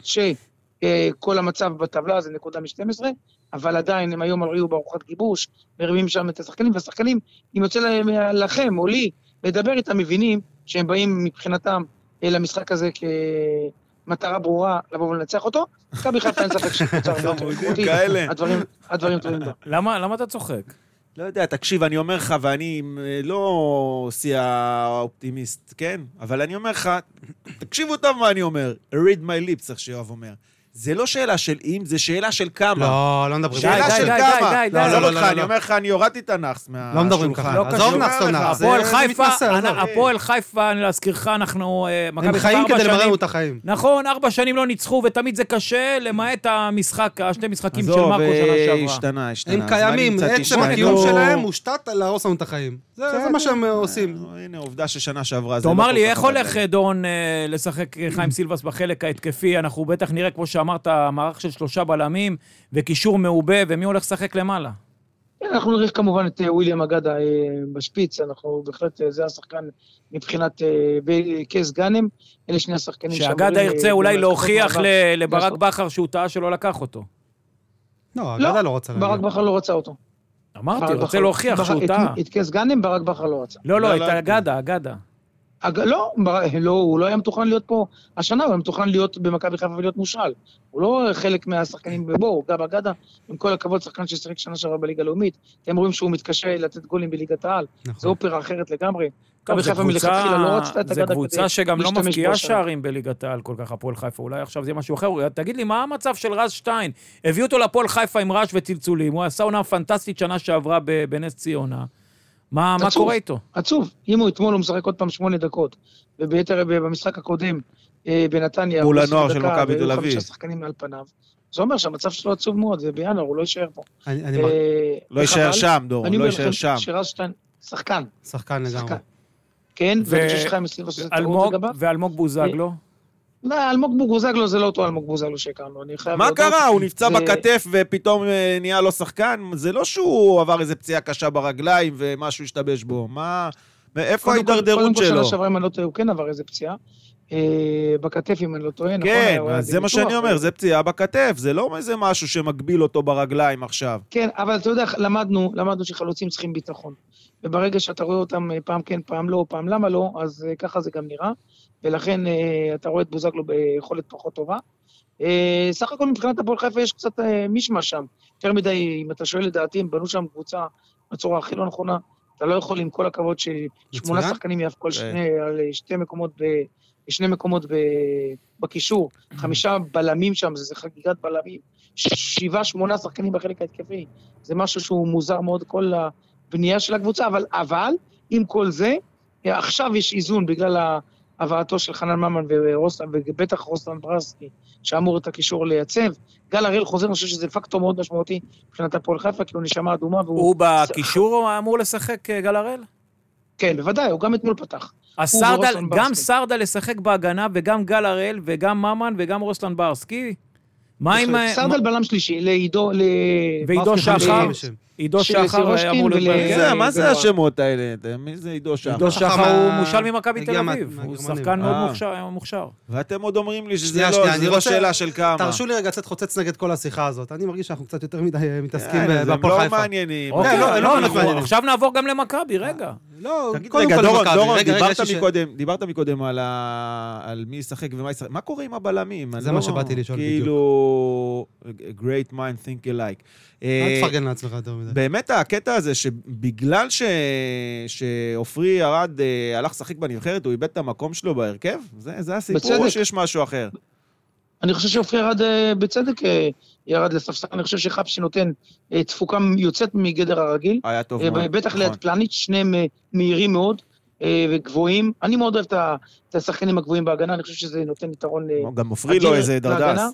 שכל המצב בטבלה זה נקודה מ-12, אבל עדיין הם היום היו בארוחת גיבוש, מרימים שם את השחקנים, והשחקנים, אם יוצא להם, לכם או לי לדבר איתם, מבינים שהם באים מבחינתם אה, למשחק הזה כמטרה ברורה לבוא ולנצח אותו. מכבי חיפה אין ספק שהיא קבוצה הרבה יותר איכותית,
כאלה.
הדברים- הדברים טובים בה.
למה למה אתה צוחק?
לא יודע, תקשיב, אני אומר לך, ואני אה, לא שיא האופטימיסט, כן? אבל אני אומר לך, תקשיבו טוב מה אני אומר. read my lips, איך שיואב אומר. זה לא שאלה של אם, זה שאלה של כמה.
לא, לא מדברים.
די,
אה, שאלה
די,
של
די,
כמה.
די, די, די.
לא,
לא,
לא,
לא,
לא,
לא,
אני
לא.
אומר לך, אני הורדתי את הנאחס מהשולחן.
לא מדברים ככה.
לא
עזוב
קשור.
נאחס, לא
אומר לך,
נאחס. זה-
הפועל
זה
חיפה,
מתנשא, עזוב.
אנ- הפועל חיפה, אני להזכירך, אנחנו... אה, מכבי
הם
חיפה
חיים
ארבע
כדי למרר
שנים-
לנו את החיים.
נכון, ארבע שנים לא ניצחו, ותמיד זה קשה, למעט המשחק, השני משחקים של
עזוב,
מרקו
אה,
שנה שעברה.
השתנה, השתנה.
הם
הזמנים
קיימים,
קצת
עצם
השתנו.
הקיום שלהם הושתת על להרוס לנו את החיים. זה זה מה שהם אה, עושים.
אה, הנה, עובדה ששנה שעברה זה...
תאמר
לא
לי,
כל
איך
כך
הולך
עבד.
אה, דורון אה, לשחק אה, חיים סילבס בחלק ההתקפי? אנחנו בטח נראה, כמו שאמרת, מערך של שלושה בלמים וקישור מעובה, ומי הולך לשחק למעלה?
כן, אנחנו נראה כמובן את אה, וויליאם אגדה אה, בשפיץ, אנחנו בהחלט, אה, זה השחקן מבחינת אה, ב- קייס גאנם, אלה שני השחקנים
שאגדה
אה,
ירצה אולי
להתקפות
להוכיח
מעבר.
ל- לברק
לעשות.
בכר שהוא טעה שלא לקח אותו.
לא,
לא,
אגדה לא רוצה
ברק
להגיע.
בכר לא רצה אותו.
אמרתי,
ברק
רוצה
בכר-
להוכיח
ברק-
שהוא
נכון. את-
טעה.
את קייס גאנם ברק בכר לא רצה.
לא,
לא,
לא, את
לא.
אגדה, אגדה.
אג... לא, בר... לא, הוא לא היה מתוכנן להיות פה השנה, הוא היה מתוכנן להיות במכבי חיפה ולהיות מושאל. הוא לא חלק מהשחקנים בבור, גם אגדה, עם כל הכבוד, שחקן ששיחק שנה שעברה בליגה הלאומית. אתם רואים שהוא מתקשה לתת גולים בליגת העל, זו
נכון.
אופרה אחרת לגמרי.
טוב,
מכבי
זו
חיפה מלכתחילה לא רצתה את
קבוצה- זו
אגדה
קבוצה שגם לא
להשתמש
מבקיעה
בו שם.
שערים בליגת העל כל כך, הפועל חיפה. אולי עכשיו זה יהיה משהו אחר. אולי- תגיד לי, מה המצב של רז שטיין? הביאו אותו להפועל חיפה עם רעש וצלצולים. הוא עשה עונה פנטסטית שנה שעברה ב- בנס ציונה. מה מה
עצוב.
קורה איתו?
עצוב. אם הוא אתמול, הוא משחק עוד פעם שמונה דקות, וביתר, במשחק הקודם, אה, בנתניה,
מול
הוא שיחק
הנוער של
דקה,
מכבי
והיו
תל
חמישה
אביב.
שחקנים על פניו. זה אומר שהמצב שלו עצוב מאוד, ובינואר הוא לא יישאר פה.
אני אני מרגיש
אה,
לא יישאר
וחבל.
שם, דורון,
אני
לא
אומר
יישאר
לכם
שם.
שרזשטיין, שחקן,
שחקן לגמרי.
שחקן. כן,
ו-
ואני חושב שחיים סילבס עושה טעות
אלמוג-
לגביו.
ואלמוג בוזגלו?
לא, אלמוג בוזגלו זה לא אותו אלמוג בוזגלו שהכרנו, אני חייב
מה
להודות.
קרה? הוא נפצע
זה-
בכתף ופתאום אה, נהיה לא שחקן? זה לא שהוא עבר איזה פציעה קשה ברגליים ומשהו השתבש בו. מה... איפה
קודם כל-
ההידרדרות
קודם כל
שלו?
שנה שעברה, אם אני לא טועה, הוא כן עבר איזה פציעה. אה, בכתף, אם אני לא טועה, נכון?
כן,
הוא היה
אז זה מה
בניתוח,
שאני אומר, זה פציעה בכתף, זה לא איזה משהו שמגביל אותו ברגליים עכשיו.
כן, אבל אתה יודע, למדנו, למדנו שחלוצים צריכים ביטחון. וברגע שאתה רואה אותם אה, פעם כן, פעם לא, פעם למה לא, אז אה, ככה זה גם נראה. ולכן אה, אתה רואה את בוזגלו ביכולת פחות טובה. אה, סך הכל מבחינת הפועל חיפה יש קצת אה, מישמע שם. יותר מדי, אם אתה שואל לדעתי, הם בנו שם קבוצה בצורה הכי לא נכונה. אתה לא יכול, עם כל הכבוד, ששמונה
מצוין.
שחקנים יעף כל
כן.
שני, על אה, שתי מקומות, ב, שני מקומות ב, בקישור. חמישה בלמים שם, זה, זה חגיגת בלמים. ש- שבעה, שמונה שחקנים בחלק ההתקפי. זה משהו שהוא מוזר מאוד, כל הבנייה של הקבוצה, אבל, אבל עם כל זה, אה, עכשיו יש איזון בגלל ה- הבאתו של חנן ממן ורוסלן, ובטח רוסלן ברסקי, שאמור את הקישור לייצב. גל הראל חוזר, אני חושב שזה פקטור מאוד משמעותי מבחינת הפועל חיפה, כי הוא נשמה אדומה, והוא...
הוא בקישור אמור לשחק, אה, גל הראל?
כן, בוודאי, הוא גם אתמול פתח.
אז סרדל,
ורוסלן
גם
ברסקי.
סרדל לשחק בהגנה, וגם גל הראל, וגם ממן, וגם רוסלן ברסקי, מה עם... ה-
סרדל בלם שלישי, לעידו... ל-
ועידו
ברסקי
שחר,
חמישי בשם.
עידו
של
שחר
סירושקין
אמור להיות
ול-
מי
בהרכב.
זה? מה זה
גבוה.
השמות האלה? אתה- מי זה עידו שם?
כן, עידו
שחר
שחר הוא
מה-
מושל ממכבי
הגיע
תל
מה-
אביב, הוא
מהגרמנים.
שחקן מאוד
אה.
מוכשר- מוכשר.
ואתם עוד אומרים לי שזה
שנייה,
לא,
שנייה,
זה
אני
לא
רוצה-
שאלה של כמה.
תרשו לי רגע לצאת חוצץ נגד כל השיחה הזאת. אני מרגיש שאנחנו קצת יותר מדי אה, מתעסקים
יאללה, זה
בהפועל
לא
חיפה.
מעניינים.
אוקיי,
לא,
לא,
לא,
לא, אנחנו
מעניינים.
עכשיו נעבור גם למכבי, רגע.
לא,
תגיד,
קודם
רגע,
כל
דורון,
מכבי.
דורון,
רגע, רגע,
דיברת
יש לי ש-
מקודם- דיברת מקודם על ה- על מי ישחק ומה ישחק. מה קורה עם הבלמים? אני
זה
לא-
מה שבאתי לשאול בדיוק.
כאילו, great mind think alike.
אל
אה,
תפרגן לעצמך יותר מדי.
באמת הקטע הזה שבגלל ש... שעופרי ארד אה, הלך לשחק בנבחרת, הוא איבד את המקום שלו בהרכב? זה, זה הסיפור
בצדק.
או שיש משהו אחר?
אני חושב שעופרי ירד, אה, בצדק אה, ירד לספסל, אני חושב שחפשי נותן אה, תפוקה יוצאת מגדר הרגיל.
היה טוב
אה,
מאוד.
בטח ליד
נכון.
פלניץ', שניהם אה, מהירים מאוד אה, וגבוהים. אני מאוד אוהב את ה- את השחקנים הגבוהים בהגנה, אני חושב שזה נותן יתרון... אה,
גם עופרי
אדיר
לא איזה דרדס.
להגנה.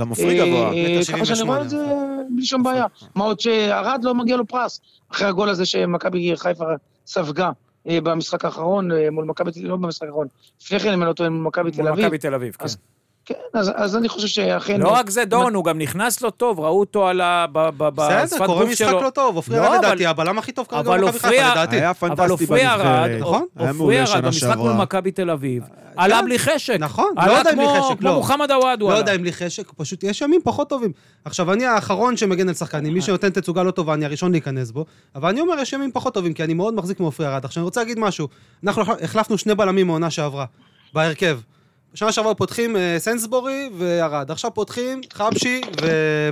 גם עופרי גבוה.
אה, אה,
מטר שבעים
ככה שאני רואה
ושמונה.
את זה אה, בלי שום בעיה. מה עוד שערד לא מגיע לו פרס, אחרי הגול הזה שמכבי חיפה ספגה אה, במשחק האחרון, אה, מול מכבי, לא במשחק האחרון, לפני כן, אם אני לא טועה, מול מכבי תל
מול
אביב.
מכבי תל אביב, כן.
אז אה, כן, אז אז אני חושב שאכן...
לא רק זה, דורון, הוא גם נכנס לא טוב, ראו אותו על ה... ב- ב-
בסדר,
בשפת
קורה
גוף
משחק
שלו.
לא טוב. עופרי
לא,
ארד
אבל-
לדעתי, הבלם הכי טוב כרגע
אבל
במכבי
עופרי
חיפה,
ארד-
לדעתי.
היה
אבל
פנטסטי
עופרי ארד,
בנבחרת.
נכון?
היה
עופרי
מעולה
ארד
שנה
במשחק מול
שעברה.
מכבי תל אביב, עלה בלי חשק.
נכון, לא
עלה
יודע אם בלי
כמו-
חשק,
כמו
לא.
מוחמד עוואד הוא
לא
עלה.
יודע אם לי חשק, פשוט יש ימים פחות טובים. עכשיו, אני האחרון שמגן על שחקנים, מי שנותן תצוגה לא טובה, אני הראשון להיכנס בו, אבל אני אומר, יש ימים פחות טובים, כי אני מאוד מחזיק מעופרי ארד. עכשיו, אני רוצה להגיד משהו, אנחנו החלפנו שני בלמים מעונה שעברה, בהרכב. בשנה שעברה פותחים אה, סנסבורי וארד, עכשיו פותחים חבשי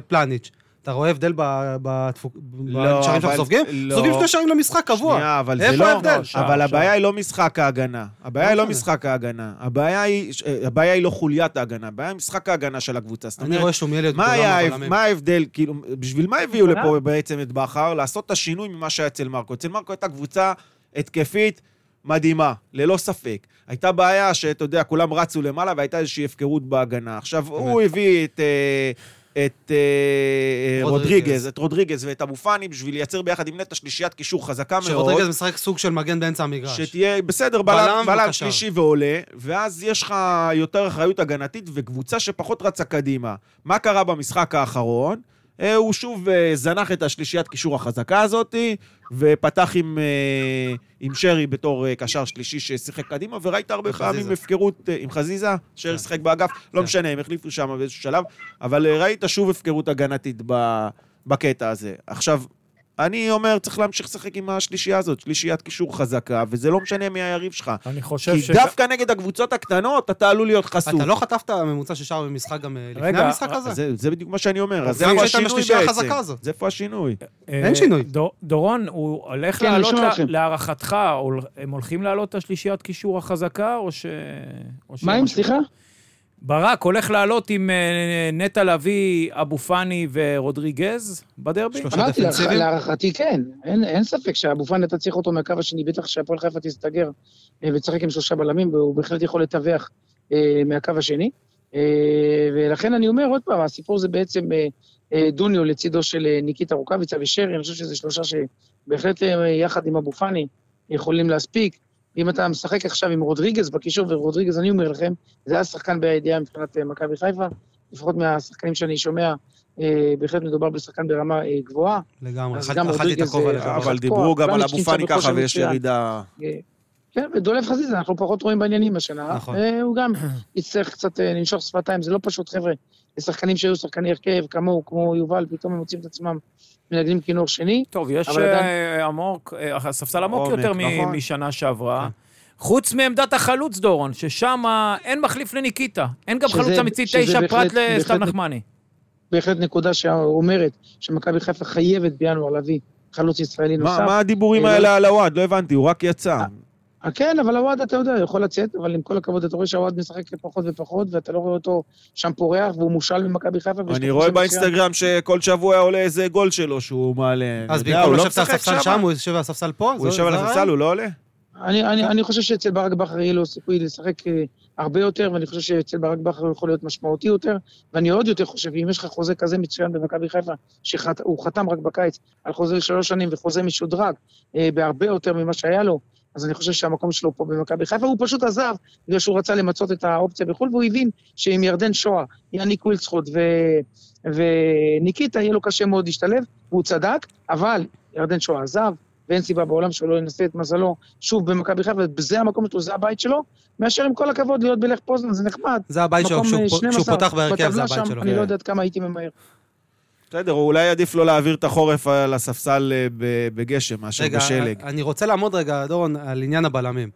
ופלניץ'. אתה רואה הבדל ב- בתפוק-
לא,
בשערים שאנחנו
אבל-
סופגים?
לא.
סופגים שני שערים למשחק קבוע.
שנייה, אבל זה
איפה
לא...
ההבדל?
אבל
שעה, שעה.
הבעיה היא לא משחק ההגנה. הבעיה היא לא
משנה.
משחק ההגנה. הבעיה היא, הבעיה היא לא חוליית ההגנה. הבעיה היא משחק ההגנה של הקבוצה. זאת
אני
אומרת,
רואה שומיליות
מה,
גדולה
היה,
מהבלמים.
מה ההבדל, כאילו, בשביל מה הביאו
הגנה?
לפה בעצם את בכר? לעשות את השינוי ממה שהיה אצל מרקו. אצל מרקו הייתה קבוצה התקפית מדהימה, ללא ספק. הייתה בעיה שאתה יודע, כולם רצו למעלה והייתה איזושהי הפקרות בהגנה. עכשיו, הוא הביא את... אה, את אה, אה,
רודריגז.
רודריגז, את רודריגז ואת אבו פאני בשביל לייצר ביחד עם נטע שלישיית קישור חזקה מאוד.
שרודריגז משחק סוג של מגן באמצע המגרש.
שתהיה, בסדר,
בלם
בלם, בלם
וקשר.
שלישי ועולה, ואז יש לך יותר אחריות הגנתית וקבוצה שפחות רצה קדימה. מה קרה במשחק האחרון? אה, הוא שוב אה, זנח את השלישיית קישור החזקה הזאת, ופתח עם, אה, עם שרי בתור אה, קשר שלישי ששיחק קדימה, וראית הרבה
וחזיזה.
פעמים הפקרות אה, עם חזיזה, שרי
כן.
שיחק באגף, לא
כן.
משנה, הם החליפו שם באיזשהו שלב, אבל אה, ראית שוב הפקרות הגנתית ב- בקטע הזה. עכשיו, אני אומר, צריך להמשיך לשחק עם השלישייה הזאת, שלישיית קישור חזקה, וזה לא משנה מי היריב שלך.
אני חושב
כי
ש...
דווקא נגד הקבוצות הקטנות, אתה עלול להיות חשוף.
אתה לא חטפת ממוצע של שער במשחק גם אה, לפני
רגע,
המשחק
אה,
הזה?
זה, זה בדיוק מה שאני אומר, אז
זה
איפה
מה שהייתה
השינוי
בשלישייה
בעצם?
החזקה הזאת.
זה איפה השינוי.
אה,
אין שינוי.
דור- דורון, הוא הולך
כן, אני
לעלות,
שומע
לה-
אתכם.
להערכתך, הול- הם הולכים לעלות את השלישיית קישור החזקה, או ש... או ש-
מה עם, סליחה?
ברק הולך לעלות עם אה, נטע לביא, אבו פאני ורודריגז בדרבי?
שלושה.
אמרתי לך,
דפנסיביים?
להערכתי כן. אין, אין ספק שאבו פאני אתה צריך אותו מהקו השני, בטח שהפועל חיפה תסתגר אה, ותשחק עם שלושה בלמים, והוא בהחלט יכול לתווך אה, מהקו השני. אה, ולכן אני אומר עוד פעם, הסיפור זה בעצם אה, אה, דוניו לצידו של אה, ניקיטה רוקאביצה ושרי, אני חושב שזה שלושה שבהחלט אה, יחד עם אבו פאני יכולים להספיק. אם אתה משחק עכשיו עם רודריגז בקישור, ורודריגז, אני אומר לכם, זה היה שחקן בידיעה מבחינת אה, מכבי חיפה, לפחות מהשחקנים שאני שומע, אה, בהחלט מדובר בשחקן ברמה אה, גבוהה.
לגמרי,
אז
אכל-
גם
אכלתי את
רודריגז,
הכובע
אה,
לגמרי.
אבל
אבל
דיברו
פה,
גם על
פלניץ'
אבו
נמצא
פאני
בכושר
ככה, ויש
מצוין.
ירידה...
אה, כן, ודולב חזיזה, אנחנו פחות רואים בעניינים השנה.
נכון.
אה, הוא גם יצטרך קצת אה, לנשוך שפתיים, זה לא פשוט, חבר'ה. זה שחקנים שהיו שחקני הרכב, כמוהו, כמו יובל, פתאום הם מוצאים את עצמם מנגנים כינור שני.
טוב, יש
אבל
אה, עמוק, אה, הספסל עמוק
עומק,
יותר מ-
נכון. כן.
משנה שעברה. חוץ מעמדת החלוץ, דורון, ששם אין מחליף לניקיטה. אין גם
שזה-
חלוץ אמיתי
שזה
תשע
בהחלט-
פרט
בהחלט-
לסתיו נחמני.
בהחלט נקודה שאומרת שמכבי חיפה חייבת בינואר להביא חלוץ ישראלי
מה
נוסף.
מה הדיבורים
אה,
האלה על הוואד? לא הבנתי, הוא רק יצא.
אה, כן, אבל הוואד, אתה יודע, יכול לצאת, אבל עם כל הכבוד, אתה רואה שהוואד משחק פחות ופחות, ואתה לא רואה אותו שם פורח, והוא מושל ממכבי חיפה. ויש לו
אני
כושר
רואה
מצוין.
באינסטגרם שכל שבוע עולה איזה גול שלו שהוא מעלה.
אז
אני יודע, הוא
במקום
לא
לשבת על
משחק
הספסל שם, הוא יושב על הספסל פה?
הוא
זה-
יושב על
זה
הספסל, הוא לא עולה?
אני, אני, אני חושב שאצל ברק בכר יהיה לו סיכוי לשחק אה, הרבה יותר, ואני חושב שאצל ברק בכר הוא יכול להיות משמעותי יותר, ואני עוד יותר חושב, אם יש לך חוזה כזה מצוין במכבי חיפה, שהוא חתם רק בקיץ על חוזה לשלוש שנים וחוזה משודרג, אה, בהרבה יותר ממה שהיה לו, אז אני חושב שהמקום שלו פה במכבי חיפה, הוא פשוט עזב בגלל שהוא רצה למצות את האופציה בחו"ל, והוא הבין שעם ירדן שואה, יניק ווילצחוט ו... וניקיטה, יהיה לו קשה מאוד להשתלב, והוא צדק, אבל ירדן שואה עזב, ואין סיבה בעולם שהוא לא ינסה את מזלו שוב במכבי חיפה, וזה המקום שלו, זה הבית שלו, מאשר עם כל הכבוד להיות בלך פוזנן, זה נחמד.
זה הבית שלו,
מקום,
כשהוא
אה,
פו-
12,
כשהוא פותח בהרכב זה
בטבלה
הבית
שם,
שלו.
אני לא
כן.
יודע עד כמה הייתי ממהר.
בסדר, הוא אולי עדיף לא להעביר את החורף על הספסל אה, ב- בגשם מאשר
רגע, אה,
בשלג.
אני רוצה לעמוד רגע, דורון, על עניין הבלמים.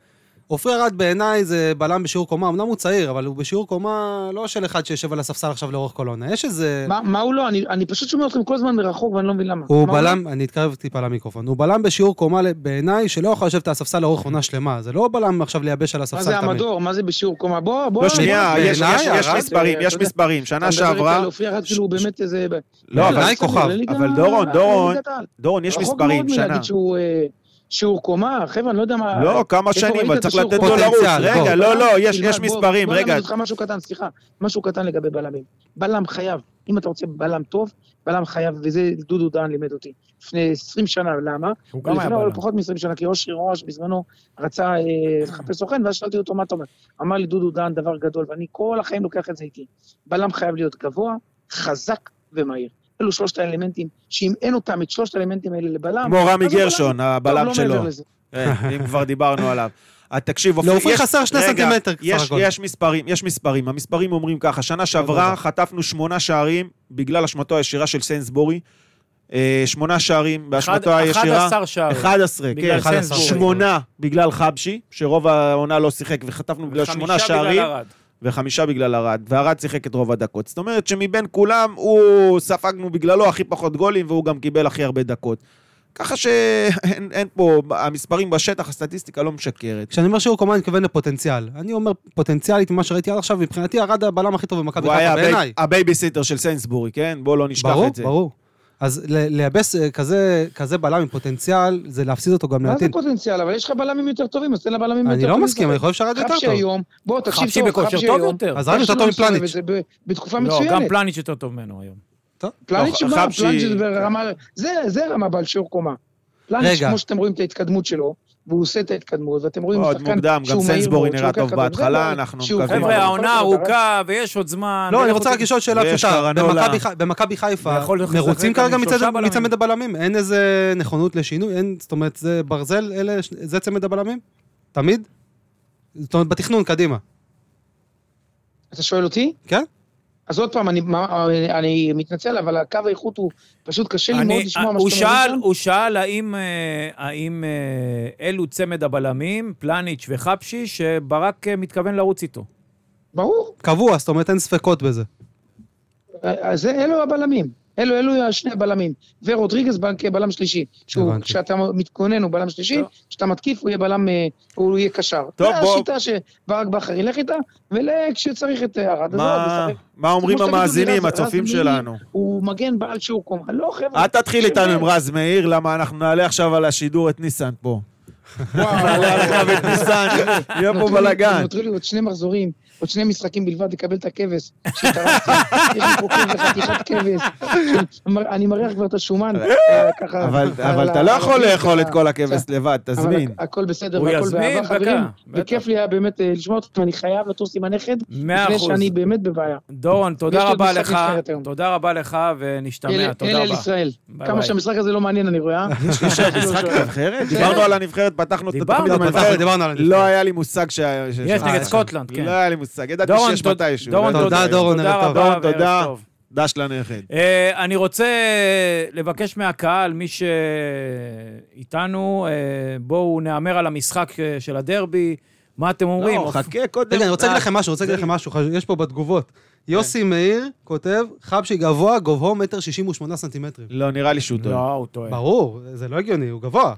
עופרי ארד בעיניי זה בלם בשיעור קומה, אמנם הוא צעיר, אבל הוא בשיעור קומה לא של אחד שיושב על הספסל עכשיו לאורך כל העונה. יש
אה.
איזה...
מה- מה הוא לא? אני- אני פשוט שומע אתכם כל הזמן מרחוק ואני לא מבין למה.
הוא
מה לא?
בלם, אני אתקרב טיפה למיקרופון, הוא בלם בשיעור קומה ל- בעיניי שלא יכול לשבת על הספסל לאורך עונה שלמה. זה לא בלם עכשיו לייבש על
מה
הספסל
זה
תמיד.
המדור? מה זה בשיעור קומה? בוא, בוא...
אה,
לא, שנייה,
בוא,
יש-
בעיניי,
יש- יש
הרס,
מספרים,
אתה
יש
יודע.
מספרים.
אתה
שנה
מדבר איתי
שעברה,
על אופיר עד כאילו הוא באמת איזה... אה,
לא, אבל
בעיניי כוכב,
אבל דורון, דורון, דורון, יש מספרים,
רחוק מאוד
שנה.
מלהגיד שהוא אה, שיעור קומה, חבר'ה, אני לא יודע מה...
לא, כמה
איפה
שנים,
ראית
אבל
את
צריך
השיעור
לתת לו
קומה?
לרוץ.
פוטנציאל,
רגע,
בוא.
לא, לא, יש
תלמד,
יש
בוא,
מספרים,
בוא
רגע.
נלמד אותך משהו קטן, סליחה. משהו קטן לגבי בלמים. בלם חייב, אם אתה רוצה בלם טוב, בלם חייב, וזה דודו דהן לימד אותי. לפני 20 שנה, למה?
הוא גם היה
לפני
בלם.
אבל לא פחות מ-20 שנה, כי אושרי ראש בזמנו רצה אה, לחפש סוכן, ואז שאלתי אותו, מה אתה אומר? אמר לי, דודו דן, דבר גדול, ואני כל החיים לוקח את זה איתי. בלם חייב להיות גבוה, חזק ומהיר. אלו שלושת האלמנטים, שאם אין אותם, את שלושת האלמנטים האלה לבלם,
כמו רמי
אז הוא
גרשון,
טוב,
הבלם
לא
שלו.
מעבר לזה.
כן, אם כבר דיברנו עליו. אז תקשיב, אופיר,
לעופרי
יש-
חסר שני
רגע,
סנטימטר סך
יש,
הכל.
יש מספרים, יש מספרים. המספרים אומרים ככה, שנה שעברה
יודע.
חטפנו שמונה שערים בגלל אשמתו הישירה של סיינסבורי. אה, שמונה שערים באשמתו הישירה.
11 שערים.
11, כן.
בגלל
11,
סנסבורי.
שמונה בגלל חבשי, שרוב העונה לא שיחק, וחטפנו בגלל שמונה
חמישה בגלל
שערים,
ערד.
וחמישה בגלל ארד, וארד שיחק את רוב הדקות. זאת אומרת שמבין כולם, הוא ספגנו בגללו הכי פחות גולים, והוא גם קיבל הכי הרבה דקות. ככה שאין אין פה, המספרים בשטח, הסטטיסטיקה לא משקרת.
כשאני אומר שיעור קומה אני מתכוון לפוטנציאל. אני אומר פוטנציאלית ממה שראיתי עד עכשיו, מבחינתי ארד הבלם הכי טוב במכבי
הוא היה
חיפה בעיניי.
הבי- הבייביסיטר של סיינסבורי, כן? בואו לא נשכח
ברור,
את זה.
ברור. אז ל- לייבש אה, כזה, כזה בלם עם פוטנציאל, זה להפסיד אותו גם
מה זה
לעתיד.
פוטנציאל? אבל יש לך בלמים יותר טובים, אז תן לבלמים יותר טובים.
אני לא מסכים, אני
לשחק.
חושב שהרד יותר
חפשי
טוב.
היום, בוא, תקשיב
חפשי
טוב,
בכושר
חפשי
טוב
היום.
יותר.
אז רד יותר טוב
שלא מסתובב
מפלניץ'.
את זה ב- בתקופה
לא, גם
מצוינת.
פלניץ' יותר טוב ממנו היום.
פלניץ'
לא,
שבא,
חפשי-
פלניץ' זה ברמה, זה, זה רמה בעל שיעור קומה. פלניץ',
רגע.
כמו שאתם רואים את ההתקדמות שלו, והוא עושה את ההתקדמות, ואתם רואים
מאוד מוקדם, גם
מהיר
סנסבורי
מאוד,
נראה
שהוא לוקח
טוב
כדור,
בהתחלה,
זה
אנחנו
שהוא-
מקווים.
חבר'ה,
אבל-
העונה
אבל-
ארוכה ויש עוד זמן.
לא, אני
ולכו
רוצה רק
ת-
לשאול שאלה
ויש
פשוטה.
קרנולה.
במכבי ח- במכבי חיפה,
ויכול לשחק
מרוצים
גם
כרגע
עם שלושה
מצד-
בלמים.
מצמד הבלמים? אין איזה נכונות לשינוי? אין, זאת אומרת, זה ברזל, אלה, ש- זה צמד הבלמים? תמיד? זאת אומרת, בתכנון, קדימה.
אתה שואל אותי?
כן?
אז עוד פעם, אני, מה- אני מתנצל, אבל הקו האיכות הוא פשוט קשה לי מאוד
אני,
לשמוע מה
הוא
שאתם אומרים
שאל,
שם.
הוא שאל האם, אה, האם אה, אלו צמד הבלמים, פלניץ' וחפשי, שברק אה, מתכוון לרוץ איתו.
ברור,
קבוע, זאת אומרת, אין ספקות בזה.
אז זה- אלו הבלמים. אלו, אלו שני הבלמים. ורודריגז בנק- בלם שלישי. שהוא,
הבנתי.
כשאתה מתכונן הוא בלם שלישי,
טוב.
כשאתה מתקיף הוא יהיה בלם, אה, הוא יהיה קשר.
טוב,
זה
בוא.
השיטה שברק בכר ילך איתה, וכשצריך את אה, ארד, אז
מה-
ארד ישחק.
מה אומרים
כמו שתגידו לי,
המאזינים,
רז- רז
הצופים
מאיר
שלנו?
הוא מגן בעל שיעור קומה. לא, חבר'ה.
אל תתחיל איתנו עם
חבר'ה.
רז מאיר, למה אנחנו נעלה עכשיו על השידור את ניסן פה.
וואו,
נעלה עליו את ניסן, יהיה פה
נותרו לא, לי-
בלאגן.
נותרו לי עוד שני מחזורים, עוד שני משחקים בלבד לקבל את הכבש שהתארסתי. יש לי פה כבש, חתיכת כבש. מר- אני מריח כבר את השומן. אה, ככה,
אבל
על
אבל
ה-
אתה לא
על
יכול
הביס,
לאכול את
אה,
כל הכבש לבד,
אבל
תזמין.
הכ- הכל בסדר,
הוא
והכל
יזמין,
באהבה,
דקה,
חברים.
בטח.
וכיף לי היה באמת אה, לשמוע אתכם, אני חייב לטוס עם הנכד,
מאה
לפני
אחוז.
שאני באמת בבעיה.
דורון,
יש
תודה
לי עוד
רבה
משחק
לך,
נבחרת היום.
תודה רבה לך, ונשתמע,
אלה-
תודה
אלה על
רבה.
ישראל.
ביי
כמה
ביי.
שהמשחק הזה לא מעניין, אני רואה. לא-
יש עוד משחק נבחרת? דיברנו על הנבחרת, פתחנו את
כן. דיברנו,
התוכנית
פתחנו,
הנבחרת.
דיברנו על הנבחרת.
לא היה לי מושג שה... שיש
יש
לה-
נגד
אה,
סקוטלנד, כן.
לא היה לי מושג, ידעתי
דורון,
שיש
תודה-
מתישהו.
דורון,
לא ידעתי.
תודה, דורון,
תודה
ערב טוב.
רבה,
דורון,
וערב
תודה.
טוב.
דש לנכד.
אה, אני רוצה לבקש מהקהל, מי שאיתנו, אה, בואו נהמר על המשחק אה, של הדרבי. מה אתם אומרים?
לא, חכה קודם.
רגע, אני רוצה
אה, כן.
להגיד לכם משהו, אני רוצה להגיד לכם משהו, חש- יש פה בתגובות. יוסי מאיר כותב, חבשי גבוה, גובהו מטר שישים ושמונה סנטימטרים.
לא, נראה לי שהוא טועה.
לא, הוא טועה.
ברור, זה לא הגיוני, הוא גבוה.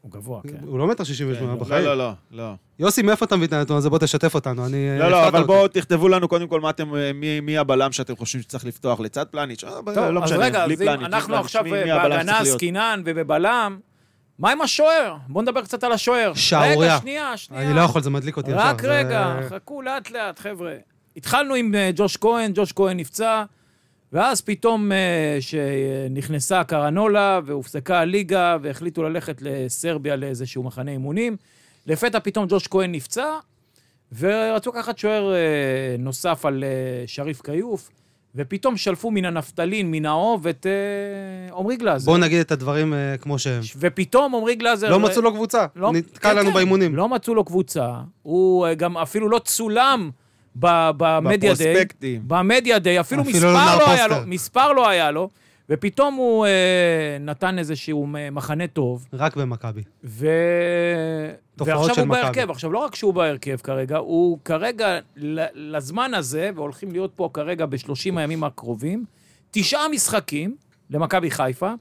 הוא גבוה, כן.
הוא לא מטר שישים ושמונה
לא,
בחיים.
לא, לא, לא.
יוסי, מאיפה אתה מביא את הנתון הזה? בוא תשתף אותנו, אני...
לא,
הפתעת
לא, אבל
אותי.
בואו תכתבו לנו קודם כל מה אתם, אה, מי- מי הבלם שאתם חושבים שצריך לפתוח לצד פלניץ'. אה,
טוב,
לא
אז
משנה,
רגע,
בלי
אז
פלניץ',
אם
בלי
אנחנו
פלניץ',
עכשיו אה,
מי- מי הבלם
בהגנה
שצריך להיות?
עסקינן ובבלם, מה עם השוער? בואו נדבר קצת על השוער.
שערוריה.
רגע, שנייה, שנייה.
אני לא יכול, זה מדליק אותי
רק
זה-
רגע, חכו לאט-לאט, חבר'ה. התחלנו עם אה, ג'וש כהן, ג'וש כהן נפצע, ואז פתאום אה, שנכנסה קרנולה והופסקה הליגה והחליטו ללכת לסרביה לאיזשהו מחנה אימונים, לפתע פתאום ג'וש כהן נפצע, ורצו לקחת שוער אה, נוסף על אה, שריף כיוף, ופתאום שלפו מן הנפתלין, מן האוב, את אה, עמרי גלאזר.
בואו נגיד את הדברים אה, כמו שהם.
ופתאום עמרי גלאזר...
לא מצאו לו קבוצה,
לא-
נתקע
כן,
לנו
כן,
באימונים.
לא מצאו לו קבוצה, הוא אה, גם אפילו לא צולם ב- במדיה דיי.
בפרוספקטים.
במדיה דיי, אפילו
אפילו לא
מספר לא
נער
היה לו,
פוסטר.
מספר לא היה לו, ופתאום הוא אה, נתן איזשהו מ- מחנה טוב,
רק במכבי.
ו...
תופעות
ועכשיו
של
הוא
מכבי.
בהרכב. עכשיו, לא רק שהוא בהרכב כרגע, הוא כרגע, ל- לזמן הזה, והולכים להיות פה כרגע ב-30 הימים הקרובים, תשעה משחקים למכבי חיפה,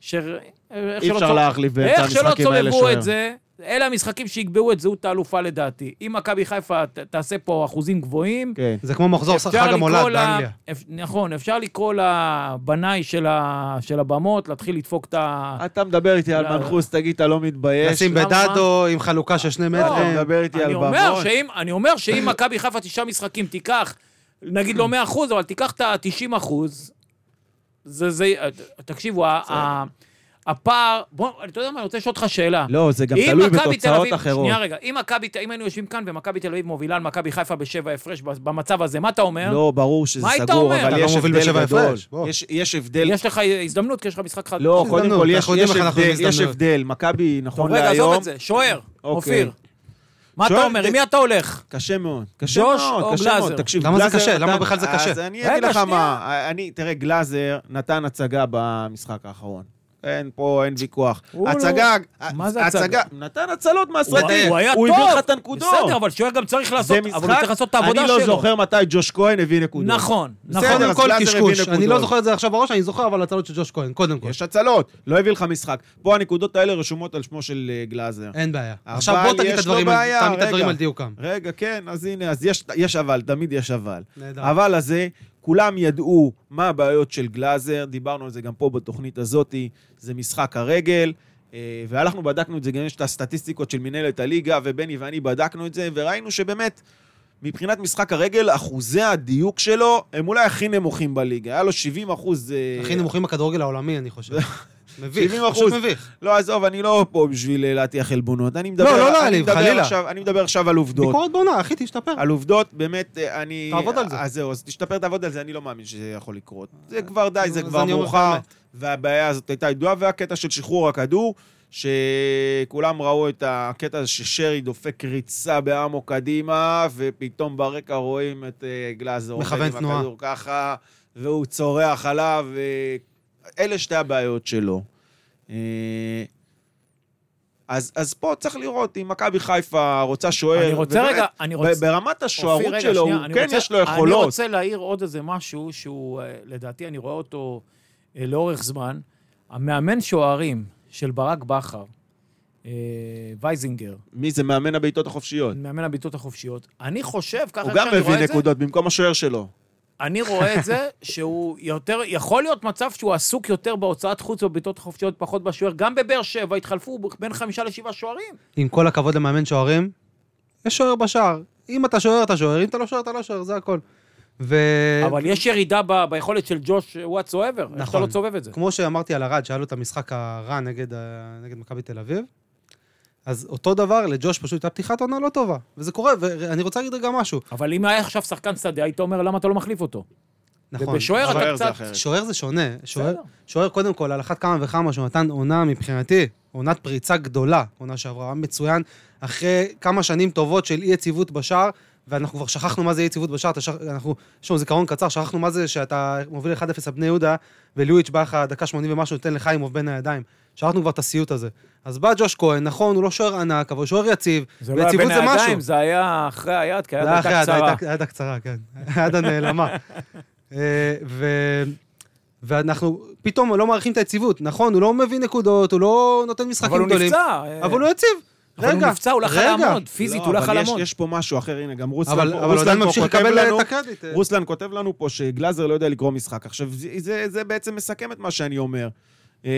ש... אה,
אי אפשר להחליף את
איך שלא
המשחקים האלה
צולבו
שוער.
את זה, אלה המשחקים שיקבעו את זהות האלופה לדעתי. אם מכבי חיפה ת- תעשה פה אחוזים גבוהים,
כן.
זה כמו מחזור
אפשר
חג
לקרוא
המולד
לה-
באנגליה.
אפ- נכון, אפשר לקרוא לבנאי של ה- של הבמות, להתחיל לדפוק את ה...
אתה מדבר איתי על
יאללה.
מנחוס, תגיד, אתה לא מתבייש?
לשים
למה? לא,
בדדו עם חלוקה של שני מטרים.
אתה מדבר איתי על
אני אומר
במות?
שאם, אני אומר שאם מכבי חיפה תשעה משחקים תיקח, נגיד לא 100 אחוז, אבל תיקח את ה-90 אחוז, זה, זה, תקשיבו, ה- ה- הפער, בוא, אתה יודע מה, אני רוצה לשאול אותך שאלה.
לא, זה גם
אם
תלוי
מכבי תל
בתוצאות
אביב-
אחרות.
שנייה רגע, אם מכבי, ת- אם היינו יושבים כאן ומכבי תל אביב מובילה על מכבי חיפה בשבע הפרש במצב הזה, מה אתה אומר?
לא, ברור שזה
מה היית
סגור,
אומר?
אבל
אתה
לא
יש
מוביל
הבדל
בשבע
גדול.
הפרש, בוא.
יש- יש הבדל.
יש לך הזדמנות, כי יש לך משחק חד...
לא, קודם
הזדמנות,
כל, יש-
אנחנו יודעים
יש
איך אנחנו
הבדל- יש
בהזדמנויות.
הבדל. מכבי,
טוב,
נכון
רגע, עזוב
להיום,
את זה, שוער,
אוקיי.
אופיר. מה אתה
שוער,
אומר,
זה-
עם מי אתה הולך?
קשה מאוד. קשה
ג'וש או
מאוד, קשה
גלאזר?
מאוד. תקשיב,
למה זה
גלאזר
קשה?
נתן- אה,
למה בכלל זה קשה?
אז אני
רגע,
אגיד לך
שנייה.
מה, אה, אני, תראה, גלאזר נתן הצגה במשחק האחרון. אין פה, אין ויכוח.
הוא
הצגה,
לא- מה זה הצגה?
נתן הצלות מהסרטים.
הוא- הוא היה טוב.
הוא הביא לך את הנקודות.
בסדר, אבל שוער גם צריך לעשות,
זה
אבל הוא צריך לעשות את
משחק,
העבודה
אני
שלו.
לא זוכר מתי ג'וש כהן הביא נקודות.
נכון, נכון.
בסדר,
קודם
אז
כל
גלאזר הביא
קשקוש. אני לא
נקודות.
זוכר את זה עכשיו בראש, אני זוכר אבל הצלות של ג'וש כהן, קודם כל.
יש הצלות, לא הביא לך משחק. פה הנקודות האלה רשומות על שמו של אה, גלאזר.
אין בעיה.
אבל
עכשיו בוא תגיד
יש
את הדברים
לו
על-
בעיה,
תעמיד את הדברים
רגע.
על דיוקם.
רגע, כן, אז הנה, אז יש, יש אבל, תמיד יש אבל.
נהדר.
אבל הזה, כולם ידעו מה הבעיות של גלאזר, דיברנו על זה גם פה בתוכנית הזאתי, זה משחק הרגל, אה, והלכנו, בדקנו את זה, גם יש את הסטטיסטיקות של מנהלת הליגה, ובני ואני בדקנו את זה, וראינו שבאמת, מבחינת משחק הרגל, אחוזי הדיוק שלו הם אולי הכי נמוכים בליגה. היה לו 70 אחוז... אה,
הכי נמוכים בכדורגל העולמי, אני חושב. מביך,
70%.
פשוט מביך.
לא, עזוב, אני לא פה בשביל אה, להטיח עלבונות. אני מדבר...
לא, לא
אני
להעליב,
מדבר
חלילה.
עכשיו- אני מדבר עכשיו על עובדות.
ביקורת בעונה, אחי, תשתפר.
על עובדות, באמת, אה, אני...
תעבוד על זה. אה,
אז זהו, אז תשתפר, תעבוד על זה, אני לא מאמין שזה יכול לקרות. זה כבר די, זה
אז
כבר
אני אומר לך
מאוחר,
אמת.
והבעיה הזאת הייתה ידועה, והקטע של שחרור הכדור, שכולם ראו את הקטע הזה ששרי דופק ריצה בעמו קדימה, ופתאום ברקע רואים את אה, גלאזר עובד
מכוון
עם
תנועה.
הכדור ככה, והוא צורח עליו, אה, אלה שתי הבעיות שלו. אה, אז, אז פה צריך לראות אם מכבי חיפה רוצה שוער.
אני רוצה
ובאמת,
רגע, אני רוצה...
ב- ברמת השוערות
אופיר, רגע,
שלו,
שנייה,
הוא
אני
כן
רוצה-
יש לו יכולות.
אני רוצה להעיר עוד איזה משהו שהוא, אה, לדעתי, אני רואה אותו אה, לאורך זמן. המאמן שוערים של ברק בכר, אה, וייזינגר,
מי זה מאמן הבעיטות החופשיות?
מאמן הבעיטות החופשיות, אני חושב, ככה
הוא
איך
גם
שאני
מביא
רואה את זה,
נקודות במקום השוער שלו.
אני רואה את זה שהוא יותר, יכול להיות מצב שהוא עסוק יותר בהוצאת חוץ ובבעיטות חופשיות, פחות בשוער. גם בבאר שבע התחלפו בין חמישה לשבעה שוערים.
עם כל הכבוד למאמן שוערים, יש שוער בשער. אם אתה שוער, אתה שוער, אם אתה לא שוער, אתה לא שוער, זה הכל. ו...
אה,
אבל יש ירידה ב- ביכולת של ג'וש וואטס אוהבר. נכון. איך אתה
נכון.
לא צובב את זה?
כמו שאמרתי על ארד, שהיה לו את המשחק הרע נגד, ה- נגד מכבי תל אביב, אז אותו דבר, לג'וש פשוט הייתה פתיחת עונה לא טובה. וזה קורה, ואני רוצה להגיד רגע משהו.
אבל אם היה עכשיו שחקן שדה, היית אומר, למה אתה לא מחליף אותו?
נכון.
ובשוער
אבל-
אתה
שוער זה
קצת...
אחרת.
שוער זה שונה. שוער,
בסדר.
שוער, קודם כל, על אחת כמה וכמה שהוא נתן עונה מבחינתי, עונת פריצה גדולה, עונה שעברה, הוא היה מצוין, אחרי כמה שנים טובות של אי-יציבות בשער, ואנחנו כבר שכחנו מה זה אי-יציבות בשער, אתה שכ- אנחנו, יש לנו זיכרון קצר, שכחנו מה זה שאתה מוביל 1-0 על בני יהודה, וליואיץ' בא לך דקה 80 ומשהו, נותן לחיימוב בין הידיים. שכחנו כבר את הסיוט הזה. אז בא ג'וש כהן, נכון, הוא לא שוער ענק, אבל הוא שוער יציב,
זה לא היה
ויציבות
בין
זה משהו.
הידיים, זה היה אחרי היד, כי היד
זה היה אחרי
הייתה
היד,
קצרה.
הייתה- הייתה קצרה, כן. היד הנעלמה. אה, ו- ואנחנו פתאום לא מעריכים את היציבות. נכון, הוא לא מביא נקודות, הוא לא נותן
אבל
משחקים
הוא
גדולים.
נפצע. אה,
אבל הוא יציב.
אבל הוא
רגע,
נפצע, הוא לא יכול
רגע.
לעמוד, פיזית,
לא,
הוא לא
אבל
יכול
יש-
לעמוד.
יש פה משהו אחר, הנה, גם רוסלן
אבל
פה-
אבל הוא
רוסלן
עדיין
פה
ממשיך
כותב
לקבל
לנו-
את הקרדיט. אה.
רוסלן כותב לנו פה שגלאזר לא יודע לקרוא משחק. עכשיו, זה- זה- זה בעצם מסכם את מה שאני אומר. אה,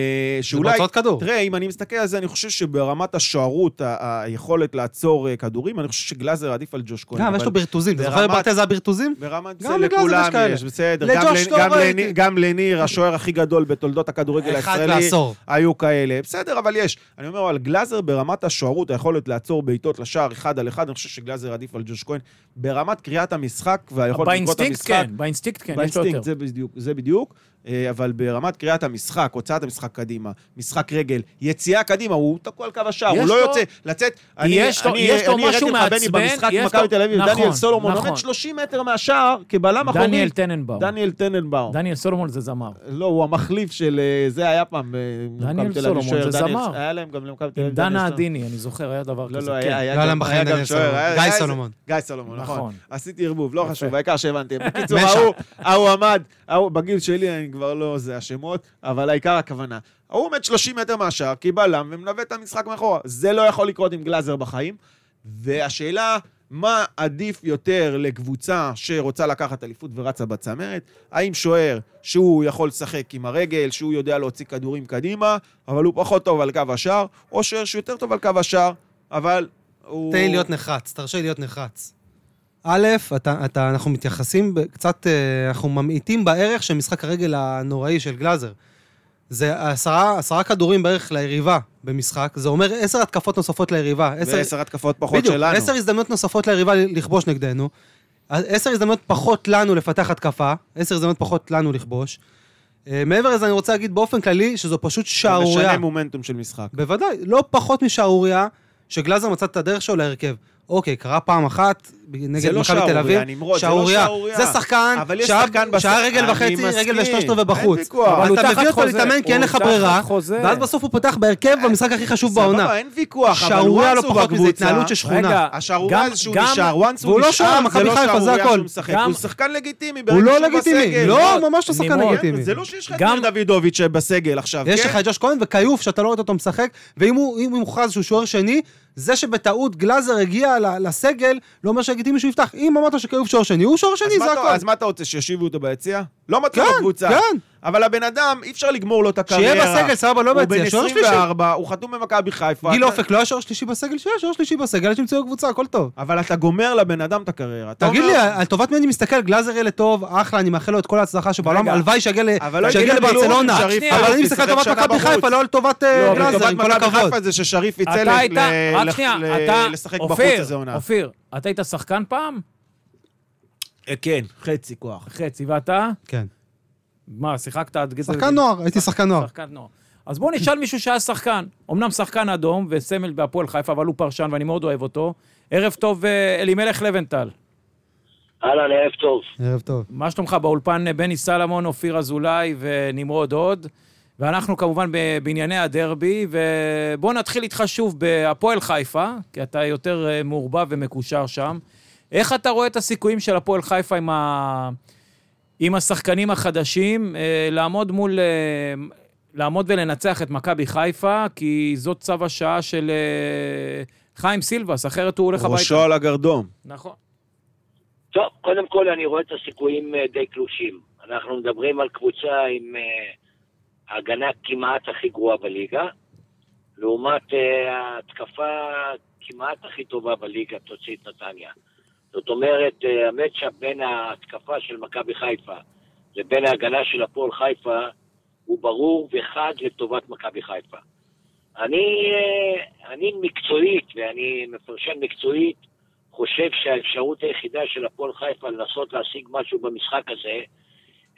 שאולי...
שאולי...
בהוצאות כדור.
תראה, אם אני מסתכל על זה, אני חושב שברמת השוערות, ה- היכולת לעצור אה, כדורים, אני חושב שגלאזר עדיף על ג'וש כהן.
גם, כן, יש לו ברטוזים. אתה זוכר
ברמת-
ברטז היה ברטוזים?
ברמת
גם
זה
לגלאזר יש
לכולם
כאלה.
יש, בסדר.
לג'וש
גם לנ-
לא
גם
ראיתי.
לניר- גם לניר, השוער הכי גדול בתולדות הכדורגל
אחד
הישראלי,
בעשור.
היו כאלה. בסדר, אבל יש. אני אומר, על גלאזר ברמת השוערות, היכולת לעצור בעיטות לשער אחד על אחד, אני חושב שגלאזר עדיף על ג'וש כהן. ברמת קריאת המשחק והיכולת לקרוא את
באינסטינקט
המשחק,
כן, באינסטינקט כן, יש לו
באינסטינקט,
יותר.
זה בדיוק, זה בדיוק, אה, אבל ברמת קריאת המשחק, הוצאת המשחק קדימה, משחק רגל, יציאה קדימה, הוא תקוע על קו השער,
יש
הוא לא
לו-
יוצא, לצאת... אני-
יש לו-
אני-
יש לו
אני הראיתי
משהו
לך, בני,
מעצבן,
במשחק עם
יש
מכבי
לו-
תל אביב,
נכון,
דניאל סולומון
נכון.
עומד 30 מטר מהשער כבלם אחורי.
דניאל טננבאום.
דניאל טננבאום.
דניאל סולומון זה זמר.
לא, הוא המחליף של... אה, זה היה פעם... אה,
דניאל
מכבי תל אביב,
סולומון,
שוער,
זה
דניאל-
זמר.
היה להם גם למכבי תל
עם
אביב.
דנה
דניאל סולומון.
עדיני, אני זוכר, היה דבר
לא,
כזה.
לא,
כן.
היה, היה,
לא,
גם-
לא, בחיים
היה
דניאל
גם שוער.
סולומון.
היה-
גיא
היה איזה-
סולומון.
גיא סולומון, נכון.
נכון.
עשיתי ערבוב, לא חשוב, העיקר שהבנתם. בקיצור,
משה.
ההוא, ההוא עמד, ההוא, בגיל שלי אני כבר לא זה השמות, אבל העיקר הכוונה. ההוא עומד 30 מטר מהשער, כבלם, ומלווה את המשחק מאחורה. זה לא יכול לקרות עם גלאזר בחיים. והשאלה, מה עדיף יותר לקבוצה שרוצה לקחת אליפות ורצה בצמרת? האם שוער שהוא יכול לשחק עם הרגל, שהוא יודע להוציא כדורים קדימה, אבל הוא פחות טוב על קו השער, או שוער שיותר טוב על קו השער, אבל הוא...
תן לי להיות נחרץ, תרשה לי להיות נחרץ. א', אתה, אתה, אנחנו מתייחסים ב- קצת, אה, אנחנו ממעיטים בערך של משחק הרגל הנוראי של גלאזר. זה עשרה, עשרה כדורים בערך ליריבה במשחק, זה אומר עשר התקפות נוספות ליריבה. עשר,
ועשר התקפות פחות
בדיוק,
שלנו.
עשר הזדמנויות נוספות ליריבה לכבוש נגדנו. עשר הזדמנויות פחות לנו לפתח התקפה, עשר הזדמנויות פחות לנו לכבוש. אה, מעבר לזה אני רוצה להגיד באופן כללי שזו פשוט שערורייה.
משנה מומנטום של משחק.
בוודאי, לא פחות משערורייה שגלאזר מצא את הדרך שלו להרכב. אוקיי, קרה פעם אחת נגד
לא
מכבי תל אביב.
שערורייה, נמרוד, זה לא שערורייה.
זה שחקן,
אבל יש
שעה-
שחקן בש-
שעה רגל
אני
וחצי,
מסכים.
רגל ושלושת
אין
רבעי בחוץ.
ויכוח. אבל
הוא
אתה
תחת
מביא אותו
חוזה.
להתאמן כי אין
הוא
לך
תחת
ברירה,
חוזה.
ואז בסוף הוא פותח בהרכב במשחק הכי חשוב בעונה.
סבבה, אין ויכוח, אבל
שערורייה
once
לא
הוא
פחות מזה,
בקבוצה,
התנהלות של שכונה.
רגע,
השערורייה
גם-
זה שהוא
גם-
נשאר, once הוא
והוא לא
נשאר,
שוער,
זה
מכבי
לא
חיפה, זה
שערורייה
הכל.
שהוא משחק.
גם-
הוא שחקן לגיטימי,
הוא
ברגע
לא
שהוא
לגיטימי,
בסגל. כן,
לא,
נמרוד,
ממש לא שחקן
נמרוד.
לגיטימי.
זה לא שיש לך את
גם-
ניר דוידוביץ' בסגל עכשיו,
יש לך
כן?
את ג'וש כהן וכיוף שאתה לא רואה אותו משחק, ואם הוא אם הוא מוכרז שהוא שוער שני, זה שבטעות גלאזר הגיע ל- לסגל, לא אומר שהגיטימי שהוא יפתח. אם אמרת שכיוף שוער שני, הוא שוער
אז
שני,
מה
זה
אתה-
הכל.
אז מה אתה רוצה, שיושיבו אותו ביציע? לא מתאים
כן,
לקבוצה.
כן.
אבל הבן אדם, אי אפשר לגמור לו את הקריירה.
שיהיה בסגל, סבבה, לא ביציע, שוער
הוא בן
שלישי.
24, הוא חתום במכבי חיפה.
גיל
אתה-
אופק לא היה שוער שלישי בסגל? שיהיה שוער שלישי בסגל, אל תמצאו קבוצה, הכל טוב.
אבל אתה גומר לבן אדם את הקריירה. אתה
תגיד
אומר-
לי, על טובת מי אני מסתכל? גלאזר ילד טוב, אחלה, אני מאחל לו את כל ההצלחה שבעולם,
רגע.
הלוואי שיגיע ל-
אבל לא
שיגיע
הגיע לבילוש,
לברצלונה.
שריף
אבל
חלוץ
אני מסתכל על
שיחק
טובת
שנה
מכבי
בחוץ.
חיפה, לא על טובת
לא,
אה,
אבל
גלאזר, עם
לטובת
כל
מכבי
הכבוד.
חיפה זה ששריף יצא ל-
אתה היית,
ל-
רק
לח-
שנייה,
ל-
אתה,
לשחק בחוץ
אופיר,
איזה עונה.
אופיר, אתה היית שחקן פעם?
אה, כן, חצי כוח.
חצי, ואתה?
כן.
מה, שיחקת עד גזר?
אה.
שחקן נוער, הייתי שחקן נוער.
שחקן נוער. אז בואו נשאל מישהו שהיה שחקן. אמנם שחקן אדום וסמל בהפועל חיפה, אבל הוא פרשן ואני מאוד אוהב אותו. ערב טוב, אה, אלימלך לבנטל.
אהלן, ערב טוב.
ערב טוב.
מה שלומך באולפן? אה, בני סלמון, אופיר אזולאי ונמרוד הוד. ואנחנו כמובן ב- בענייני הדרבי, ובואו נתחיל איתך שוב בהפועל חיפה, כי אתה יותר אה, מעורבב ומקושר שם. איך אתה רואה את הסיכויים של הפועל חיפה עם, ה... עם השחקנים החדשים אה, לעמוד מול... אה, לעמוד ולנצח את מכבי חיפה, כי זאת צו השעה של אה, חיים סילבס, אחרת הוא הולך הביתה.
ראשו על הגרדום.
נכון.
טוב, קודם כל אני רואה את הסיכויים אה, די קלושים. אנחנו מדברים על קבוצה עם אה, ההגנה כמעט הכי גרועה בליגה, לעומת אה, ההתקפה כמעט הכי טובה בליגה, תוציא את נתניה. זאת אומרת, אה, המצ'אפ בין ההתקפה של מכבי חיפה לבין ההגנה של הפועל חיפה הוא ברור וחד לטובת מכבי חיפה. אני, אה, אני מקצועית, ואני מפרשן מקצועית, חושב שהאפשרות היחידה של הפועל חיפה לנסות להשיג משהו במשחק הזה,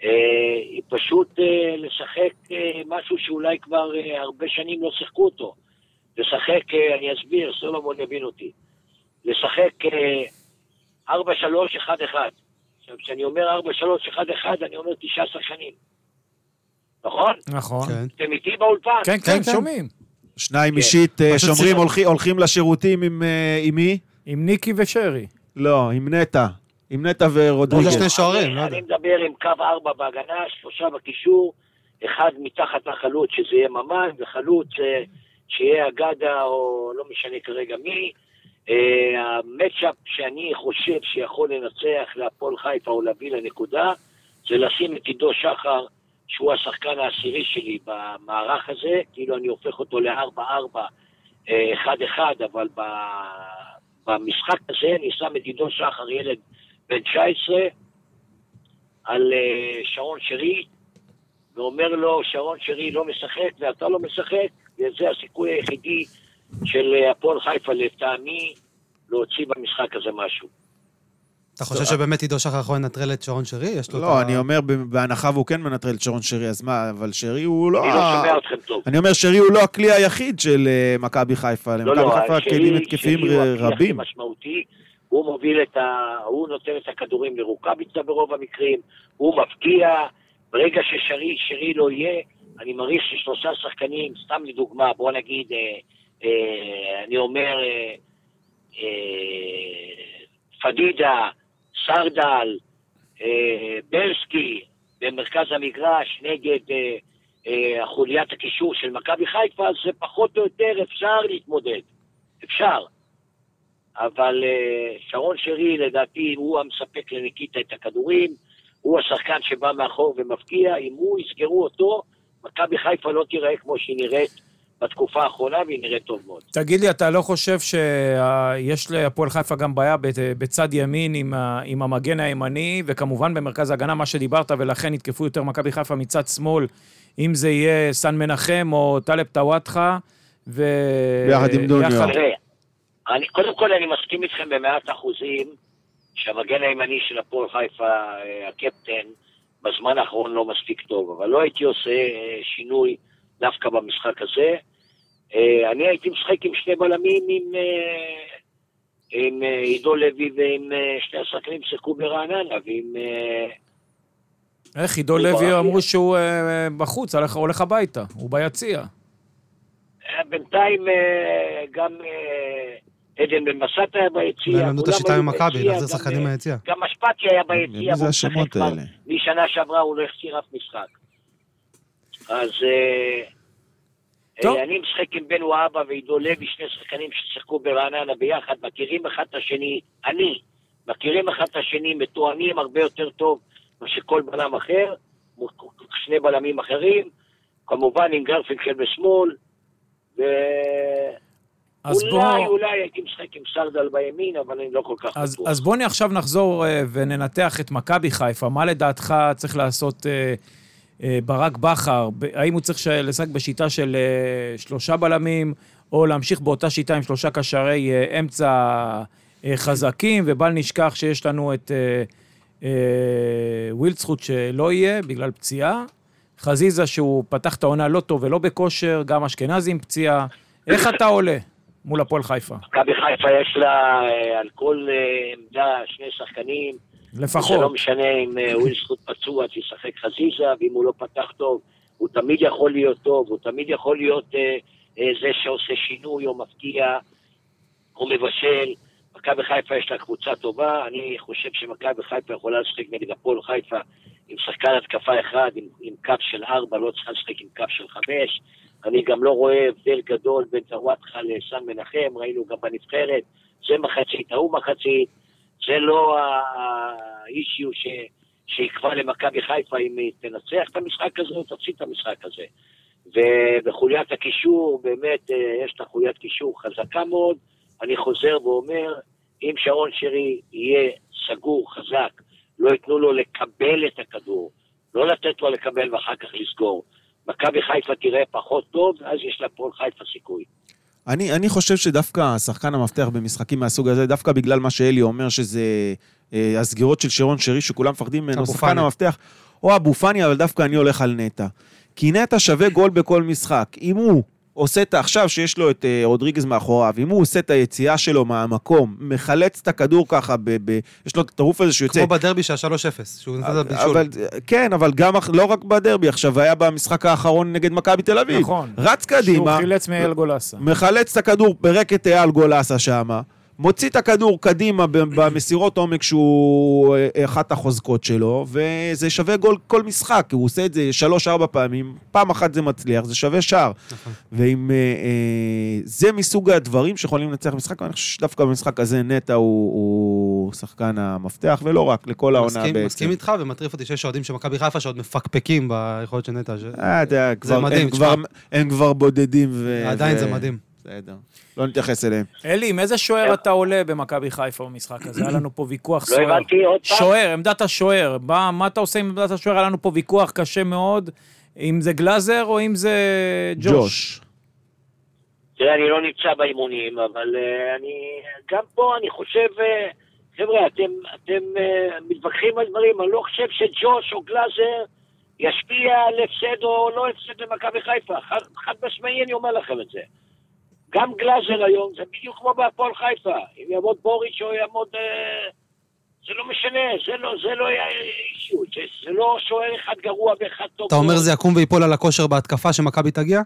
אה, היא פשוט אה, לשחק אה, משהו שאולי כבר אה, הרבה שנים לא שיחקו אותו. לשחק, אה, אני אסביר, סולומון יבין אותי. לשחק אה, 4-3-1-1. עכשיו, כשאני אומר 4-3-1-1, אני אומר תשעה שחקנים. נכון?
אה.
נכון.
כן.
אתם איתי באולפן?
כן,
כן,
כן,
כן.
שומעים.
שניים
כן.
אישית אה,
פשוט
שומרים,
שיחק-
הולכי- הולכים לשירותים עם אה, עם מי?
עם ניקי ושרי.
לא, עם נטע. עם נטע ורודריגז.
זה שני שוערים,
אני-
לא יודע.
אני מדבר עם קו ארבע בהגנה, שלושה בקישור, אחד מתחת לחלוץ שזה יהיה ממן, וחלוץ אה, שיהיה אגדה או לא משנה כרגע מי. אה, המצ'אפ שאני חושב שיכול לנצח להפועל חיפה או להביא לנקודה, זה לשים את עידו שחר שהוא השחקן העשירי שלי במערך הזה, כאילו אני הופך אותו ל-4-4, אה, 1-1, אבל ב... במשחק הזה אני שם את עידו שחר, ילד בן 19, על אה, שרון שרי, ואומר לו, שרון שרי לא משחק ואתה לא משחק, וזה הסיכוי היחידי של אה, הפועל חיפה לטעמי להוציא במשחק הזה משהו.
אתה חושב שבאמת עידו שחר יכול לנטרל את שרון שרי? יש לו את
לא,
ה-
אני אומר, ב- בהנחה והוא כן מנטרל את שרון שרי, אז מה, אבל שרי הוא לא...
אני לא
ה-
שומע אתכם טוב.
אני אומר, שרי הוא לא הכלי היחיד של אה, מכבי חיפה.
לא,
למכבי
לא,
חיפה
שרי-
כלים התקפיים
שרי הוא הכלי הכי
רבים.
משמעותי, הוא מוביל את ה... הוא נותן את הכדורים לרוקאביצה ברוב המקרים, הוא מבקיע, ברגע ששרי שרי לא יהיה, אני מעריך ששלושה שחקנים, סתם לדוגמה, בוא נגיד, אה, אה, אני אומר, אה, אה, פדידה, סרדל, אה, בלסקי במרכז המגרש נגד אה, אה, חוליית הקישור של מכבי חיפה, אז זה פחות או יותר אפשר להתמודד. אפשר. אבל אה, שרון שרי, לדעתי, הוא המספק לניקיטה את הכדורים, הוא השחקן שבא מאחור ומבקיע, אם הוא יסגרו אותו, מכבי חיפה לא תיראה כמו שהיא נראית בתקופה האחרונה, והיא נראית טוב מאוד.
תגיד לי, אתה לא חושב שיש להפועל חיפה גם בעיה בת- בצד ימין עם, ה, עם המגן הימני, וכמובן במרכז ההגנה, מה שדיברת, ולכן יתקפו יותר מכבי חיפה מצד שמאל, אם זה יהיה סן מנחם או טלב טוואטחה, ו...
ביחד עם דוניו.
יחד-
תראה, אני, קודם כל אני מסכים איתכם במאת אחוזים שהמגן הימני של הפועל חיפה, אה, הקפטן, בזמן האחרון לא מספיק טוב, אבל לא הייתי עושה אה, שינוי דווקא במשחק הזה. אה, אני הייתי משחק עם שני בלמים, עם, אה, עם אה, עידו לוי ועם אה, שני השחקנים ששיחקו ברעננה, ועם... אה,
איך עידו לוי אמרו שהוא אה, בחוץ, הלך- הולך הביתה, הוא ביציע.
אה, בינתיים אה, גם אה, עדן בן מסת היה ביציע.
אולי הם למדו את
כולם
השיטה
היו
ממכבי,
ביציע,
להחזיר
גם,
שחקנים
אה,
מהיציאה.
גם אשפטי היה ביציע,
מי זה
והוא משחק
השמות
כבר
האלה?
משנה שעברה הוא לא החסיר אף משחק. אז אה,
טוב.
אה, אני משחק עם בן והבה ועידו לוי, שני שחקנים ששיחקו ברעננה ביחד, מכירים אחד את השני, אני, מכירים אחד את השני, מתואמים הרבה יותר טוב מאשר כל בלם אחר, מול שני בלמים אחרים, כמובן עם גרפינקל בשמאל, ואולי,
אז בוא...
אולי הייתי משחק עם סרדל בימין, אבל אני לא כל כך
אז,
בטוח.
אז בוא נ- עכשיו נחזור אה, וננתח את מכבי חיפה. מה לדעתך צריך לעשות אה, אה, ברק בכר? ב- האם הוא צריך ש- לשחק בשיטה של אה, שלושה בלמים, או להמשיך באותה שיטה עם שלושה קשרי אה, אמצע אה, חזקים, ובל נשכח שיש לנו את אה, אה, ווילדסחוט שלא יהיה בגלל פציעה, חזיזה שהוא פתח את העונה לא טוב ולא בכושר, גם אשכנזי עם פציעה. איך אתה עולה מול הפועל חיפה?
מכבי חיפה יש לה אה, על כל אה, עמדה שני שחקנים. זה לא
לפחות.
משנה אם אה, וויל זכות פצוע, שישחק חזיזה, ואם הוא לא פתח טוב, הוא תמיד יכול להיות טוב, הוא תמיד יכול להיות אה, אה, זה שעושה שינוי או מפקיע או מבשל. מכבי חיפה יש לה קבוצה טובה, אני חושב שמכבי חיפה יכולה לשחק נגד הפועל חיפה עם שחקן התקפה אחד, עם, עם קו של ארבע, לא צריכה לשחק עם קו של חמש. אני גם לא רואה הבדל גדול בין זוואטחה לסן מנחם, ראינו גם בנבחרת, זה מחצית, ההוא מחצית. זה לא ה- האישיו ש... שיקבע למכבי חיפה אם היא תנצח את המשחק הזה או תפסיד את המשחק הזה. ובחוליית הקישור, באמת, אה, יש לה חוליית קישור חזקה מאוד. אני חוזר ואומר, אם שרון שרי יהיה סגור, חזק, לא ייתנו לו לקבל את הכדור, לא לתת לו לקבל ואחר כך לסגור. מכבי חיפה תראה פחות טוב, אז יש להפועל חיפה סיכוי. לא
אני, אני חושב שדווקא השחקן המפתח במשחקים מהסוג הזה, דווקא בגלל מה שאלי אומר, שזה אה, הסגירות של שרון שרי, שכולם מפחדים ממנו,
אבו
שחקן
פאני.
המפתח, או אבו פאני, אבל דווקא אני הולך על נטע. כי נטע שווה גול בכל משחק. אם הוא עושה את עכשיו, שיש לו את אה, רודריגז מאחוריו, אם הוא עושה את היציאה שלו מהמקום, מחלץ את הכדור ככה, ב, ב, יש לו את הטירוף הזה שיוצא,
כמו בדרבי של ה-3-0, שהוא נתן את הבישול.
אבל, כן, אבל גם אח- לא רק בדרבי, עכשיו היה במשחק האחרון נגד מכבי תל אביב.
נכון.
רץ
שהוא
קדימה,
חילץ מאייל גולסה.
מחלץ את הכדור ברקת אייל גולסה שמה, מוציא את הכדור קדימה ב- במסירות עומק שהוא אה, אחת החוזקות שלו, וזה שווה גול כל משחק, כי הוא עושה את זה שלוש-ארבע פעמים, פעם אחת זה מצליח, זה שווה שער.
נכון.
ואם אה, אה, זה מסוג הדברים שיכולים לנצח משחק, ואני חושב שדווקא במשחק הזה נטע הוא, הוא שחקן המפתח, ולא רק, לכל העונה
מסכים-
בעצם.
מסכים איתך ומטריף אותי שיש אוהדים של מכבי חיפה שעוד מפקפקים ביכולת של נטע. ש-
אה, אתה יודע, כבר-
מדהים,
הם כבר- הם כבר בודדים. ו-
עדיין
אה, ו-
זה מדהים.
בסדר, לא נתייחס אליהם.
אלי, עם איזה שוער אתה עולה במכבי חיפה במשחק הזה? היה לנו פה ויכוח
כן. לא
סוער.
הבנתי עוד פעם.
שוער, עמדת השוער. מה, מה אתה עושה עם עמדת השוער? היה לנו פה ויכוח קשה מאוד, אם זה גלאזר או אם זה ג'וש.
ג'וש.
תראה, אני לא נמצא באימונים, אבל אה, אני... גם פה אני חושב... אה, חבר'ה, אתם, אתם אה, מתווכחים על דברים, אני לא חושב שג'וש או גלאזר ישפיע על הפסד או לא הפסד למכבי חיפה. חד, חד משמעי אני אומר לכם את זה. גם גלאזר היום, זה בדיוק כמו בהפועל חיפה. אם יעמוד בוריץ' או יעמוד... אה, זה לא משנה, זה לא, זה לא היה אישיו, זה, זה לא שוער אחד גרוע ואחד טוב.
אתה אומר
מאוד.
זה יקום ויפול על הכושר בהתקפה שמכבי תגיע?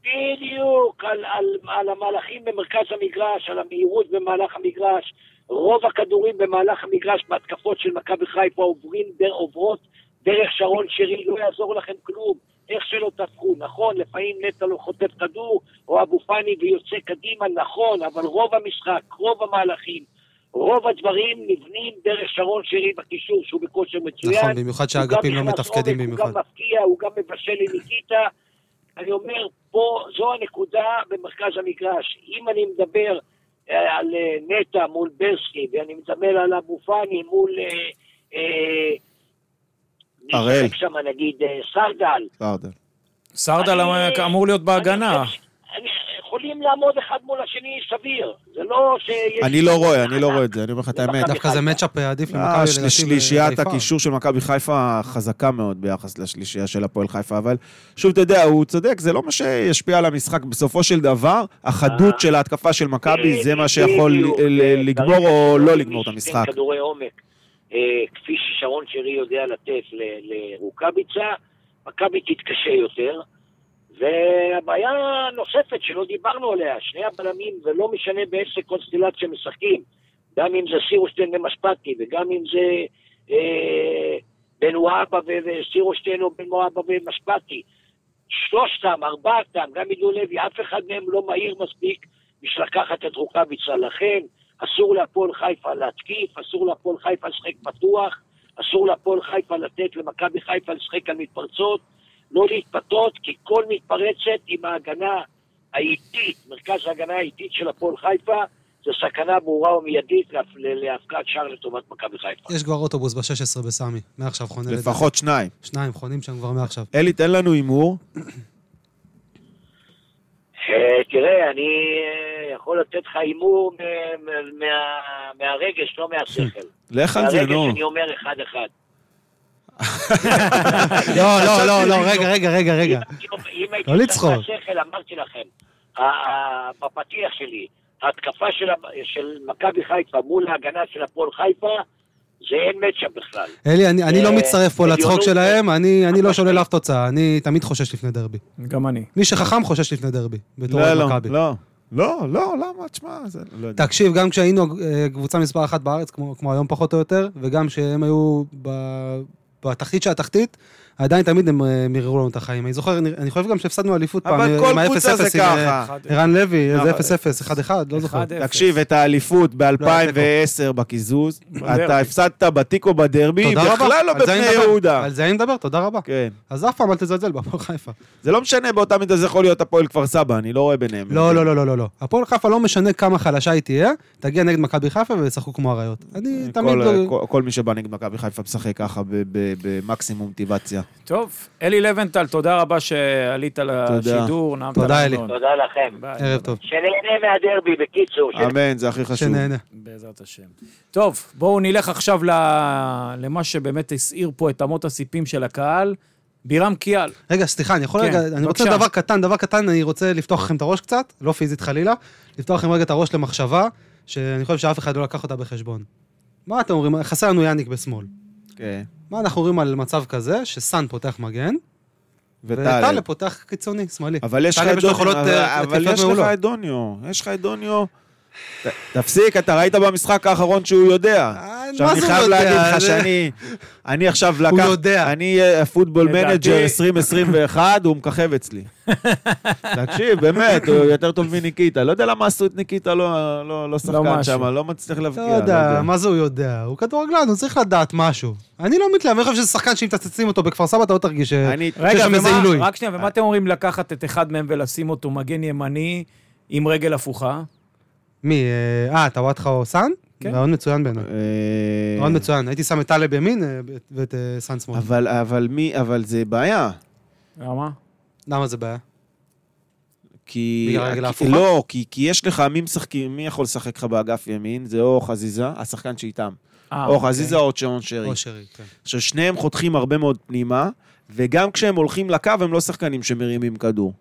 בדיוק, על, על, על המהלכים במרכז המגרש, על המהירות במהלך המגרש. רוב הכדורים במהלך המגרש בהתקפות של מכבי חיפה עוברים, דר, עוברות דרך שרון שרי, לא יעזור לכם כלום, איך שלא תפחו. נכון, לפעמים נטע לא חוטף כדור, או אבו פאני ויוצא קדימה, נכון, אבל רוב המשחק, רוב המהלכים, רוב הדברים נבנים דרך שרון שרי בקישור, שהוא בכושר מצוין.
נכון, במיוחד שהאגפים
הוא
לא
גם נכנס
מתפקדים
עומק,
במיוחד.
הוא גם מפקיע, הוא גם מבשל לניקיטה. אני אומר, פה, זו הנקודה במרכז המגרש. אם אני מדבר אה, על אה, נטע מול ברסקי, ואני מדבר על אבו פאני מול... אה, אה, מי
הראל.
שיחק שם נגיד אה, סרדל.
סרדל.
סרדל
אני-
אמור להיות בהגנה.
אני חושב ש- אני- יכולים לעמוד אחד מול השני סביר. זה לא שיש...
אני לא רואה, אני לא רואה את זה, אני אומר לך את האמת.
מכבי
דווקא זה
חיפה.
מצ'אפ עדיף למכבי
אה,
לדעתי,
שלישיית
בחיפה.
הקישור של מכבי חיפה חזקה מאוד ביחס לשלישייה של הפועל חיפה, אבל שוב, אתה יודע, הוא צודק, זה לא מה שישפיע על המשחק. בסופו של דבר, החדות
אה.
של ההתקפה של מכבי זה מה שיכול
בדיוק.
ל- ל- לגמור או
ברגע
לא
שאתה
לגמור את
מבין
המשחק.
כדורי עומק, אה, כפי ששרון שרי יודע לתת ל- לרוקאביצה, מכבי תתקשה יותר. והבעיה נוספת שלא דיברנו עליה, שני הבלמים, ולא משנה באיזה קונסטלציה משחקים, גם אם זה סירושטיין ומשפטי, וגם אם זה אה, בן וואבה ו- וסירושטיין או בן וואבה ומשפטי, שלושתם, ארבעתם, גם עידו לוי, אף אחד מהם לא מהיר מספיק בשביל לקחת את רוקאביצה. לכן, אסור להפועל חיפה להתקיף, אסור להפועל חיפה לשחק פתוח, אסור להפועל חיפה לתת למכבי חיפה לשחק על מתפרצות, לא להתפתות, כי כל מתפרצת עם ההגנה האיטית, מרכז ההגנה האיטית של הפועל חיפה, זה סכנה ברורה ומיידית להפ- להפקעת שער לטובת מכבי חיפה.
יש כבר אוטובוס ב-16 בסמי, מעכשיו חונה לדעתי.
לפחות שניים.
שניים חונים שם כבר מעכשיו.
אלי, תן לנו הימור.
אה, תראה, אני אה, יכול לתת לך הימור מ- מ- מה- מהרגש, לא
כן.
מהשכל.
לך על זה, נו.
מהרגש אני אומר אחד-אחד.
לא, לא, לא, לא, רגע, רגע, רגע, רגע.
אם הייתי
לא לצחוק.
צריך לשכל, אמרתי לכם, ה- ה- בפתיח שלי, ההתקפה של ה- של מכבי חיפה מול ההגנה של הפועל חיפה, זה אין מצ'אפ בכלל.
אלי, אני- אני לא
אה,
מצטרף פה לצחוק
עליונות.
שלהם, אני אני לא שולל אף תוצאה, אני תמיד חושש לפני דרבי.
גם אני.
מי שחכם חושש לפני דרבי, בתור
לא,
אוהד
לא,
מכבי.
לא. לא, לא, למה? תשמע, זה... לא יודע.
תקשיב, גם כשהיינו אה, קבוצה מספר אחת בארץ, כמו כמו היום פחות או יותר, וגם כשהם היו ב- בתחתית של התחתית, עדיין תמיד הם אה, מיררו לנו את החיים. אני זוכר, אני אני חושב גם שהפסדנו אליפות פעם,
אבל
אה,
כל
עם ה-
קבוצה
0-0
זה
עם, אה,
ככה. לא,
ערן לוי,
אבל-
איזה 0-0, 1-1, לא זוכר.
אחד אפס.
תקשיב, את
לא,
האליפות ב-2010 בקיזוז,
בדרבי.
אתה הפסדת בתיקו בדרבי,
תודה רבה.
בכלל לא
על זה אני
בבני
מדבר,
יהודה.
על זה אני מדבר, תודה רבה.
כן.
אז אף פעם אל תזלזל בהפועל חיפה.
זה לא משנה, באותה מידה זה יכול להיות הפועל כפר סבא, אני לא רואה ביניהם.
לא, לא, לא, לא, לא, לא. הפועל חיפה לא משנה כמה חלשה היא תהיה, תגיע נגד מכבי חיפה וישחקו כמו אריות. אני
אה, כל-
תמיד לא...
כל- כל מי שבא נגד מכבי חיפה משחק ככה ב- ב- במקסימום מוטיבציה.
טוב, אלי לבנטל, תודה רבה שעלית לשידור. נעמת
תודה,
לנו
אלי.
מאוד.
תודה לכם.
ביי.
ערב טוב.
שנהנה מהדרבי, בקיצור.
אה,
שנהנה.
אמן, זה הכי חשוב.
שנהנה.
בעזרת השם. טוב, בואו נלך עכשיו ל- למה שבאמת הסעיר פה את אמות הסיפים של הקהל, בירם קיאל.
רגע, סליחה, אני יכול
כן,
רגע... אני רוצה
בבקשה.
דבר קטן, דבר קטן, אני רוצה לפתוח לכם את הראש קצת, לא פיזית חלילה, לפתוח לכם רגע את הראש למחשבה, שאני חושב שאף אחד לא לקח אותה בחשבון. מה אתם אומרים? חסר לנו יאניק בשמאל.
כן.
מה אנחנו אומרים על מצב כזה, שסאן פותח מגן, וטלב
וטלב.
פותח קיצוני, שמאלי.
אבל יש לך
טלב
את
יש לו
דוניו,
יכולות,
אבל-
אה,
אבל
התקפיות
יש לך
מעולות.
את דוניו, יש לך את דוניו, תפסיק, אתה ראית במשחק האחרון שהוא יודע.
אה,
עכשיו,
מה
אני
זה הוא
חייב
יודע?
להגיד לך
זה-
שאני... אני עכשיו לקח...
יודע.
אני אה, פוטבול
לדעתי-
מנג'ר 2021, הוא מככב אצלי. תקשיב, באמת, הוא יותר טוב מניקיטה. לא יודע למה עשו את ניקיטה לא- לא לא שחקן
משהו.
שם, לא מצליח
אתה
להבקיע.
יודע, מה זה הוא יודע? הוא כדורגלן, הוא צריך לדעת משהו. אני לא מתלהב, אני חושב שזה שחקן שאם תצצים אותו בכפר סבא, אתה לא תרגיש ש...
אני...
רגע,
שם איזה
ומה-
עילוי.
רק שנייה, ומה אתם אומרים לקחת את אחד מהם ולשים אותו מגן ימני עם רגל הפוכה?
מי, אה, אה, אתה וואטחה או סאן?
כן.
כן. רעיון מצוין בעיניי.
אה,
רעיון מצוין. הייתי שם את טלב ימין אה, ואת אה, סאן שמאל.
אבל, אבל מי, אבל זה בעיה.
למה?
למה זה בעיה?
כי...
בגלל הרגל
כי
ההפוכה?
לא, כי, כי יש לך, מי משחקים, מי יכול לשחק לך באגף ימין? זה או חזיזה, השחקן שאיתם.
אה,
או
אוקיי.
חזיזה או שרון שרי.
או שרי, כן.
עכשיו, שניהם חותכים הרבה מאוד פנימה, וגם כשהם הולכים לקו, הם לא שחקנים שמרימים כדור.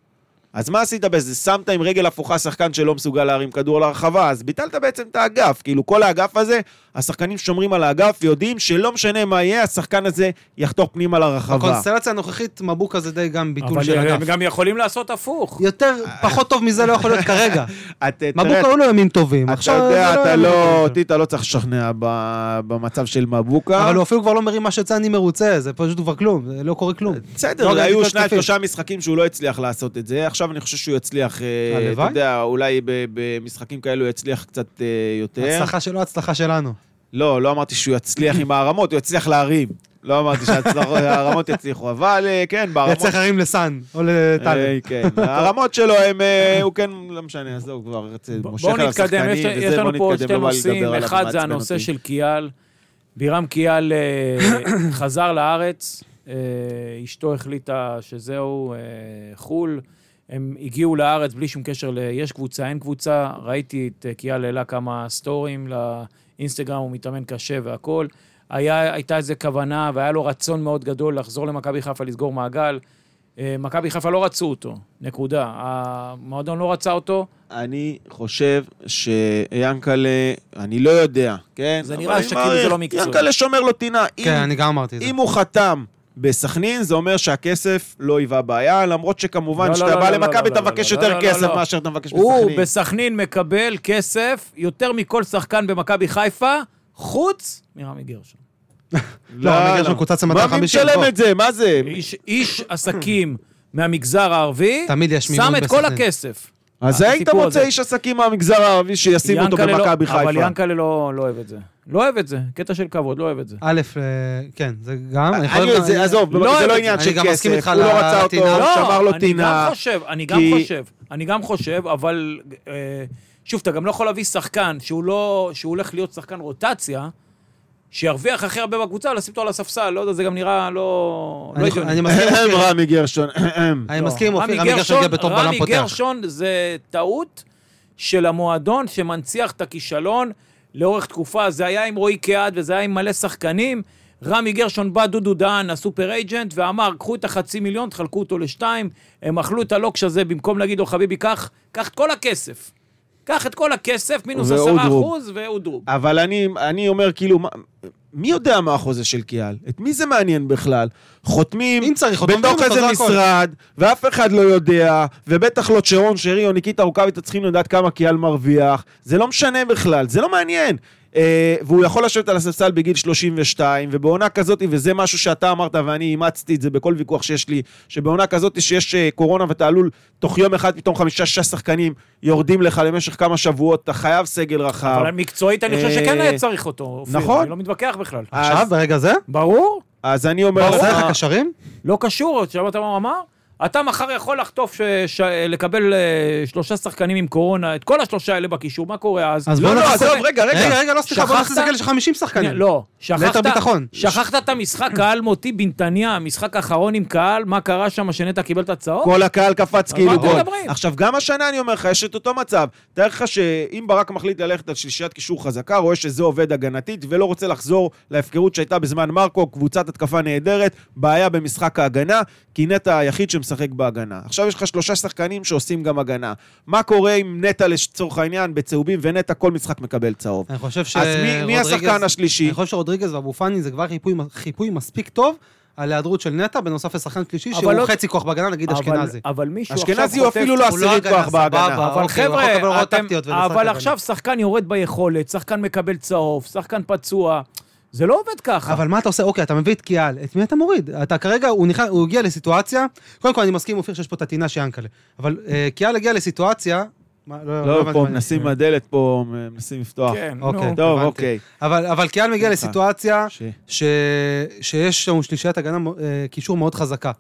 אז מה עשית בזה? שמת עם רגל הפוכה שחקן שלא מסוגל להרים כדור לרחבה, אז ביטלת בעצם את האגף. כאילו, כל האגף הזה, השחקנים שומרים על האגף ויודעים שלא משנה מה יהיה, השחקן הזה יחתוך פנימה לרחבה.
בקונסטלציה הנוכחית, מבוקה זה די גם ביטול של
אבל הם
אגף.
גם יכולים לעשות הפוך.
יותר,
אה,
פחות טוב מזה לא יכול להיות כרגע.
את- תראה,
מבוקה היו לו ימים טובים.
אה, אתה
עכשיו
יודע,
זה
אתה
ימים
לא,
טובים.
אותי אתה לא צריך לשכנע ב- במצב של מבוקה.
אבל הוא אפילו כבר לא מרים מה שיוצא, אני מרוצה, זה פשוט כבר כלום, זה לא קורה כלום.
בסדר,
לא, גם
היו
בגלל
שניים,
התקפים.
שלושה משחקים שהוא לא הצליח לעשות את זה. עכשיו אני חושב שהוא יצליח, אה, אתה
הלוואי.
יודע, אולי ב- במשחקים כאלו הוא יצליח קצת אה, יותר.
הצלחה שלו, הצלחה שלנו.
לא, לא אמרתי שהוא יצליח עם הערמות, הוא יצליח להרים. לא אמרתי שהערמות יצליחו, אבל אה, כן, בהרמות...
יצא חרים לסאן, או לטלב.
אה, כן, הרמות שלו הם, אה, הוא כן, לא משנה, עזוב כבר, רצה- מושך
בואו
על
נתקדם, יש-
השחקנים,
יש
וזה,
לנו
בואו
פה עוד שתי
נתקדם, לא בא לי לדבר
נושאים.
עליו,
אחד
מעצבן
זה הנושא
אותי.
של קיאל. בירם קיאל אה, חזר לארץ, אה, אשתו החליטה שזהו, אה, חו"ל. הם הגיעו לארץ בלי שום קשר ל... יש קבוצה, אין קבוצה. ראיתי את אה, קיאל העלה כמה סטורים לאינסטגרם, הוא מתאמן קשה והכול. היה, הייתה איזו כוונה והיה לו רצון מאוד גדול לחזור למכבי חיפה, לסגור מעגל. אה, מכבי חיפה לא רצו אותו, נקודה. המועדון לא רצה אותו,
אני חושב שיאנקלה, אני לא יודע, כן?
זה
אבל
נראה
אני
שכאילו זה
מעריך,
לא מקצועי.
יאנקלה שומר לו טינה. אם-
כן, אני גם אמרתי את זה.
אם הוא חתם בסכנין, זה אומר שהכסף לא היווה בעיה, למרות שכמובן,
לא,
כשאתה
לא, לא,
בא
לא,
למכבי,
לא,
אתה
לא,
מבקש
לא, לא,
יותר
לא,
כסף
לא.
מאשר אתה מבקש
הוא
בסכנין.
בסכנין מקבל כסף יותר מכל שחקן במכבי חיפה, חוץ מרמי גרשון.
לא, המגרש מקוצץ
מה מי
250,
משלם
בוא.
את זה? מה זה?
איש, איש עסקים מהמגזר הערבי,
תמיד יש מימון
שם את כל
בסכנין.
הכסף.
אז
הסיפור
היית מוצא
הזה.
איש עסקים מהמגזר הערבי שישים אותו
ינקלה לא-
במכבי
אבל
חיפה.
ינקלה לא, לא אוהב את זה. לא אוהב את זה, קטע של כבוד, לא אוהב את זה.
א', אה, כן, זה גם... אני יכול-
אני- זה- עזוב,
לא
זה
אוהב
לא
את
עניין
זה.
של
אני גם מסכים
כסף,
איתך
הוא לא
על
רצה אותו,
הטינה.
הוא
לא,
שמר לו
אני
טינה.
גם חושב, אני גם
כי-
חושב, אני גם חושב, אבל אה, שוב, אתה גם לא יכול להביא שחקן שהוא לא, שהוא הולך להיות שחקן רוטציה, שירוויח הכי הרבה בקבוצה, לשים אותו על הספסל, לא יודע, זה גם נראה לא... לא
אני-
הגיוני.
אני מסכים עם אופיר.
רמי גרשון,
אני
לא,
מסכים עם אופיר, רמי גרשון הגיע בתור בלם
רמי
פותח.
גרשון זה טעות של המועדון שמנציח את הכישלון לאורך תקופה. זה היה עם רועי קהד וזה היה עם מלא שחקנים. רמי גרשון בא דודו דהן, הסופר אייג'נט, ואמר, קחו את החצי מיליון, תחלקו אותו לשתיים. הם אכלו את הלוקש הזה, במקום להגיד לו, חביבי, קח, קח את כל הכסף. קח את כל הכסף, מינוס
ואודרוב.
עשרה אחוז, ואודרוב.
אבל אני, אני אומר, כאילו, מה, מי יודע מה החוזה של קיאל? את מי זה מעניין בכלל? חותמים
אם צריך, חותמים
בתוך
אותו,
איזה
זה הכל.
משרד, ואף אחד לא יודע, ובטח לא צ'רון שרי או ניקיטה רוקאביצה צריכים לדעת כמה קיאל מרוויח. זה לא משנה בכלל, זה לא מעניין. אה, והוא יכול לשבת על הספסל בגיל 32, ובעונה כזאת, וזה משהו שאתה אמרת ואני אימצתי את זה בכל ויכוח שיש לי, שבעונה כזאת שיש אה, קורונה ואתה עלול, תוך יום אחד פתאום חמישה-שישה שחקנים יורדים לך למשך כמה שבועות, אתה חייב סגל רחב.
אבל מקצועית, אני חושב שכן
אה,
היה צריך אותו, אופיר.
נכון.
אני לא מתווכח בכלל.
אז-
עכשיו, ברגע זה?
ברור.
אז אני אומר
ברור.
לך,
זה הקשרים?
לא קשור, שמעת מה הוא אמר? אתה מחר יכול לחטוף, ש... ש... לקבל אה, שלושה שחקנים עם קורונה, את כל השלושה האלה בקישור, מה קורה אז?
אז
לא,
בוא
לא,
נחזור-
עזוב, רגע, רגע.
רגע, רגע, לא, סליחה, בוא
שכחת?
נחזור לסגל של 50 שחקנים.
לא, שכחת,
ליתר ביטחון.
שכחת את המשחק האלמותי בנתניה, המשחק האחרון עם קהל, מה קרה שם, שנטע קיבל את הצהוב?
כל הקהל קפץ
מה
כאילו
אתם
גול.
מדברים?
עכשיו, גם השנה אני אומר לך, יש את אותו מצב. תאר לך שאם ברק מחליט ללכת על שלישיית קישור חזקה, רואה שזה עובד הגנתית, ולא רוצה לחזור להפקרות שהייתה בזמן מרקו, קבוצת התקפה נהדרת, בעיה במשחק ההגנה, כי נטע היחיד שמשחק בהגנה. עכשיו יש לך שלושה שחקנים שעושים גם הגנה. מה קורה עם נטע לצורך העניין בצהובים, ונטע כל משחק מקבל צהוב?
אני חושב ש...
אז מי- מי
רודריגז-
השחקן השלישי?
אני חושב שרודריגז ואבו פאני זה כבר חיפוי- חיפוי מספיק טוב על היעדרות של נטע, בנוסף לשחקן שלישי,
אבל
שהוא
לא-
חצי כוח בהגנה, נגיד
אבל-
לא אשכנזי.
אבל מישהו עכשיו
אשכנזי הוא
חוטף-
אפילו לא
הוא לא
עשירית
הגנה,
כוח בהגנה.
סבבה.
אבל
אוקיי, הוא יכול לקבל
חבר'ה,
הוראות
אתם-
טקטיות ולשחק
אבל
הגנה.
עכשיו שחקן יורד ביכולת, שחקן מקבל צהוב, שחקן פצוע. זה לא עובד ככה.
אבל מה אתה עושה? אוקיי, אתה מביא את קיאל, את מי אתה מוריד? אתה כרגע, הוא, נכנס, הוא הגיע לסיטואציה, קודם כל אני מסכים עם אופיר שיש פה את הטינה של ינקלה, אבל אה, קיאל הגיע לסיטואציה... מה,
לא,
הבנתי
פה
מה אני-
מנסים הדלת, פה מנסים לפתוח.
כן, נו.
אוקיי.
טוב,
הבנתי.
אוקיי.
אבל, אבל קיאל מגיע
סליחה.
לסיטואציה
ש-
ש... שיש שם שלישיית הגנה, מ- אה, קישור מאוד חזקה.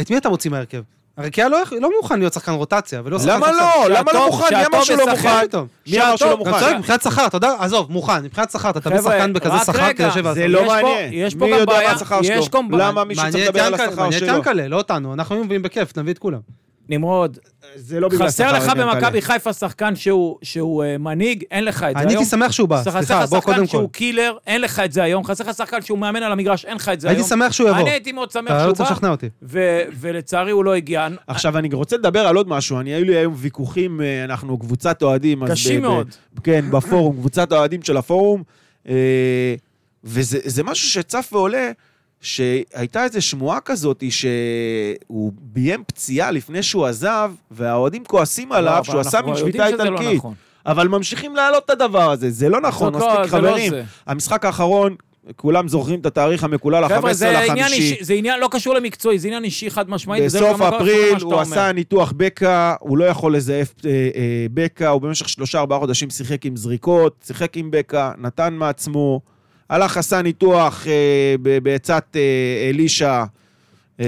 את מי אתה מוציא מהרכב? הרי קיאל לא, יכ- לא מוכן להיות שחקן רוטציה, ולא שחקן...
למה
שעכשיו-
לא? למה לא
שהטוב-
מוכן? מי
שהטוב
אמר שלא
משחק.
מוכן?
פתאום.
מי אמר שלא
שהטוב-
גם צודק,
מוכן?
מבחינת שכר, אתה יודע, עזוב, מוכן, מבחינת שכר, אתה תביא
חבר'ה,
שחקן בכזה
רק
שכר
רגע,
כדי לשבת.
זה לא
יש פה-
מעניין.
יש פה
מי
גם
יודע
בעיה.
מה השכר
יש
שלו?
גם בעיה.
למה מישהו צריך
מעניין את
לדבר על
ינקלה,
השכר
מעניין את
שלו?
ינקלה, לא אותנו, אנחנו היינו מביאים בכיף, נביא את כולם.
נמרוד,
זה לא בגלל
חסר
השכר,
לך
ינקלה.
במכבי חיפה שחקן שהוא- שהוא אה, מנהיג, אין לך את זה
אני
היום.
הייתי שמח שהוא בא,
חסר
סליחה,
לך
בוא
שחקן
קודם כל.
שהוא קילר, אין לך את זה היום. חסר לך שחקן שהוא מאמן על המגרש, אין לך את זה היום.
הייתי שמח שהוא יבוא.
אני הייתי מאוד שמח
אתה לא
שהוא
רוצה
בא,
לשכנע אותי.
ו- ולצערי הוא לא הגיע.
עכשיו, אני רוצה לדבר על עוד משהו. אני, היו לי היום ויכוחים, אה, אנחנו קבוצת אוהדים. אז
קשים
ב- ב-
מאוד.
כן, בפורום, קבוצת האוהדים של הפורום. אה, וזה זה משהו שצף ועולה, שהייתה איזו שמועה כזאת שהוא ביים פציעה לפני שהוא עזב, והאוהדים כועסים
לא,
עליו
אבל
שהוא עשה
אנחנו
מין
יודעים
שביתה
שזה לא
איטלקית.
נכון.
אבל ממשיכים להעלות את הדבר הזה, זה לא נכון,
זאת לא-
מספיק
זה לא
חברים.
זה.
המשחק האחרון, כולם זוכרים את התאריך המקולל, ה-15
חבר'ה, זה עניין
לחמישי.
אישי, זה עניין לא קשור למקצועי, זה עניין אישי חד משמעית. וזה
בסוף
גם לא קשור למה
אפריל
שאתה
הוא עשה
אומר.
ניתוח בקע, הוא לא יכול לזייף אה, אה, בקע, הוא במשך שלושה ארבעה חודשים שיחק עם זריקות, שיחק עם בקע, נתן מעצמו, הלך עשה ניתוח אה, ב- בעצת אה, אלישע, אה,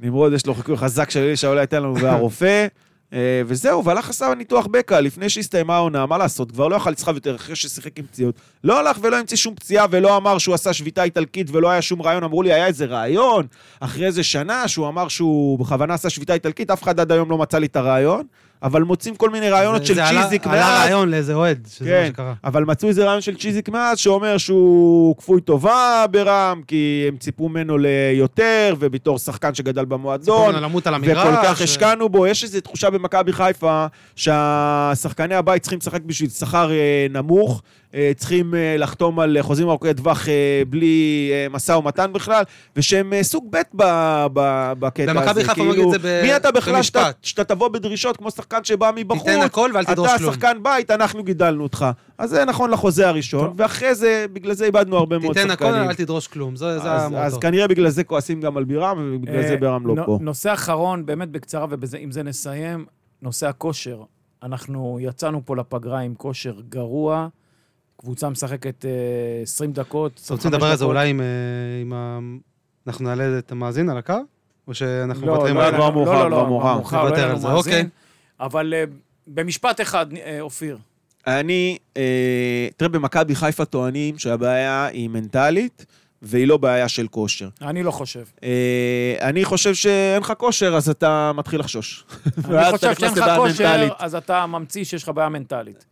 נמרוד יש לו חיקוי חזק של אלישע, אולי ייתן לנו, והרופא. אה, וזהו, והלך עשה ניתוח בקע לפני שהסתיימה העונה, מה לעשות, כבר לא יכל לסחב יותר אחרי ששיחק עם פציעות. לא הלך ולא המציא שום פציעה ולא אמר שהוא עשה שביתה איטלקית ולא היה שום רעיון, אמרו לי, היה איזה רעיון אחרי איזה שנה שהוא אמר שהוא בכוונה עשה שביתה איטלקית, אף אחד עד היום לא מצא לי את הרעיון, אבל מוצאים כל מיני רעיונות
זה-
של
זה עלה-
צ'יזיק
עלה
מאז.
רעיון לאיזה אוהד, שזה מה
כן,
שקרה.
אבל מצאו איזה רעיון של צ'יזיק מאז שאומר שהוא כפוי טובה ברם, כי הם ציפו ממנו ליותר, ובתור שחקן שגדל במועדון,
ציפורנו למות על המגרש.
וכל כך
ו-
השקענו בו. יש איזו תחושה במכבי חיפה שהשחקני הבית צריכים לשחק בשביל שכר אה, נמוך, אה, צריכים אה, לחתום על חוזים ארוכי טווח אה, בלי אה, משא ומתן בכלל, ושהם אה, סוג ב' ב- ב- בקטע הזה.
במכבי חיפה
כאילו,
אומרים את זה ב-
מי אתה בכלל שאתה-
במשפט.
שאתה תבוא בדרישות כמו שחקן שבא מבחוץ?
תיתן הכל ואל תדרוש
אתה
כלום.
שחקן בית, אנחנו גידלנו אותך. אז זה נכון לחוזה הראשון, ואחרי זה, בגלל זה איבדנו הרבה מאוד
תיתן
שחקנים.
הכל, אל תדרוש כלום. זה זה
אז- אז כן.
המוטו.
כנראה בגלל זה כועסים גם על בירם, ובגלל זה
אה,
בירם לא
נו-
פה.
נושא אחרון, באמת בקצרה, ועם זה נסיים, נושא הכושר. אנחנו יצאנו פה לפגרה עם כושר גרוע, קבוצה משחקת אה, 20 דקות, 25
אתם
דקות.
רוצים לדבר על זה אולי עם, אה, עם ה... אנחנו נעלה את המאזין על הקו? או שאנחנו
לא,
מוותרים
לא,
עליו?
לא,
כבר
לא,
מאוחר,
לא,
כבר
לא,
מאוחר.
לא
נוותר
יהיה לנו
על זה,
מאזין.
אוקיי.
אבל אה, במשפט אחד, אה, אופיר.
אני, אה, תראה, במכבי חיפה טוענים שהבעיה היא מנטלית, והיא לא בעיה של כושר.
אני לא חושב.
אה, אני חושב שאין לך כושר, אז אתה מתחיל לחשוש.
אני חושב שאין לך כושר, אז אתה ממציא שיש לך בעיה מנטלית.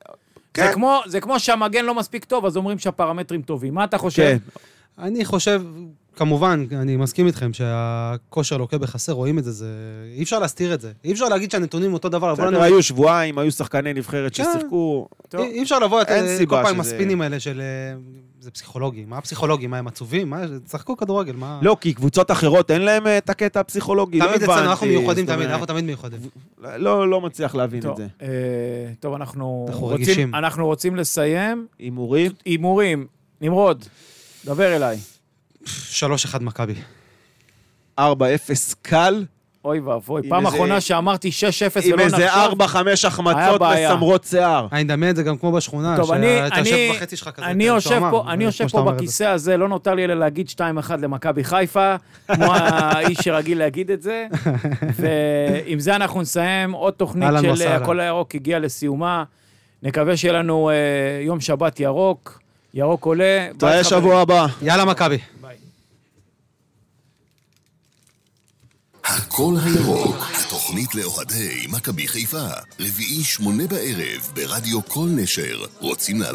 כן.
זה כמו- זה כמו שהמגן לא מספיק טוב, אז אומרים שהפרמטרים טובים. מה אתה חושב?
כן,
אני חושב, כמובן, אני מסכים איתכם שהכושר לוקה בחסר, רואים את זה, זה... אי אפשר להסתיר את זה. אי אפשר להגיד שהנתונים אותו דבר, אבל
בסדר, היו שבועיים, היו שחקני נבחרת
כן.
ששיחקו.
טוב.
אי אי אפשר לבוא,
אין
אה,
סיבה
כל פעם עם
שזה-
הספינים האלה של... אה, זה פסיכולוגי. מה הפסיכולוגי? מה, הם עצובים? מה, שחקו כדורגל, מה...
לא, כי קבוצות אחרות אין להם אה, את הקטע הפסיכולוגי, לא
תמיד
הבנתי.
אצלנו, אנחנו מיוחדים
זאת אומרת,
תמיד, אנחנו תמיד מיוחדים.
לא לא מצליח להבין את
טוב,
זה.
אה, טוב, אנחנו
אנחנו
רוצים-
רגישים.
אנחנו רוצים לסיים.
הימורים?
הימורים. נמרוד, דבר אליי.
3-1 מכבי.
4-0 קל,
אוי ואבוי,
עם
פעם
איזה-
אחרונה שאמרתי 6-0
עם
ולא נחשוב.
איזה 4-5 החמצות
לא בעיה.
מסמרות שיער.
אני מדמה את זה גם כמו בשכונה,
טוב, אני,
שאתה
אני,
אה, יושב בחצי שלך כזה.
אני
אתה
יושב
משועמם,
פה,
זה
אני יושב
כמו שאתה
פה
אומר את זה.
בכיסא הזה, לא נותר לי אלא להגיד 2-1 למכבי חיפה, כמו האיש שרגיל להגיד את זה. ועם זה אנחנו נסיים עוד תוכנית
אהלן
של אה,
וסהלן.
הכל הירוק הגיעה לסיומה. נקווה שיהיה לנו אה, יום שבת ירוק, ירוק עולה. ביי,
תראה
חברים.
שבוע הבא.
יאללה, מכבי.
הקול הירוק, התוכנית לאוהדי מכבי חיפה, רביעי שמונה בערב ברדיו כל נשר. רוצים לעלות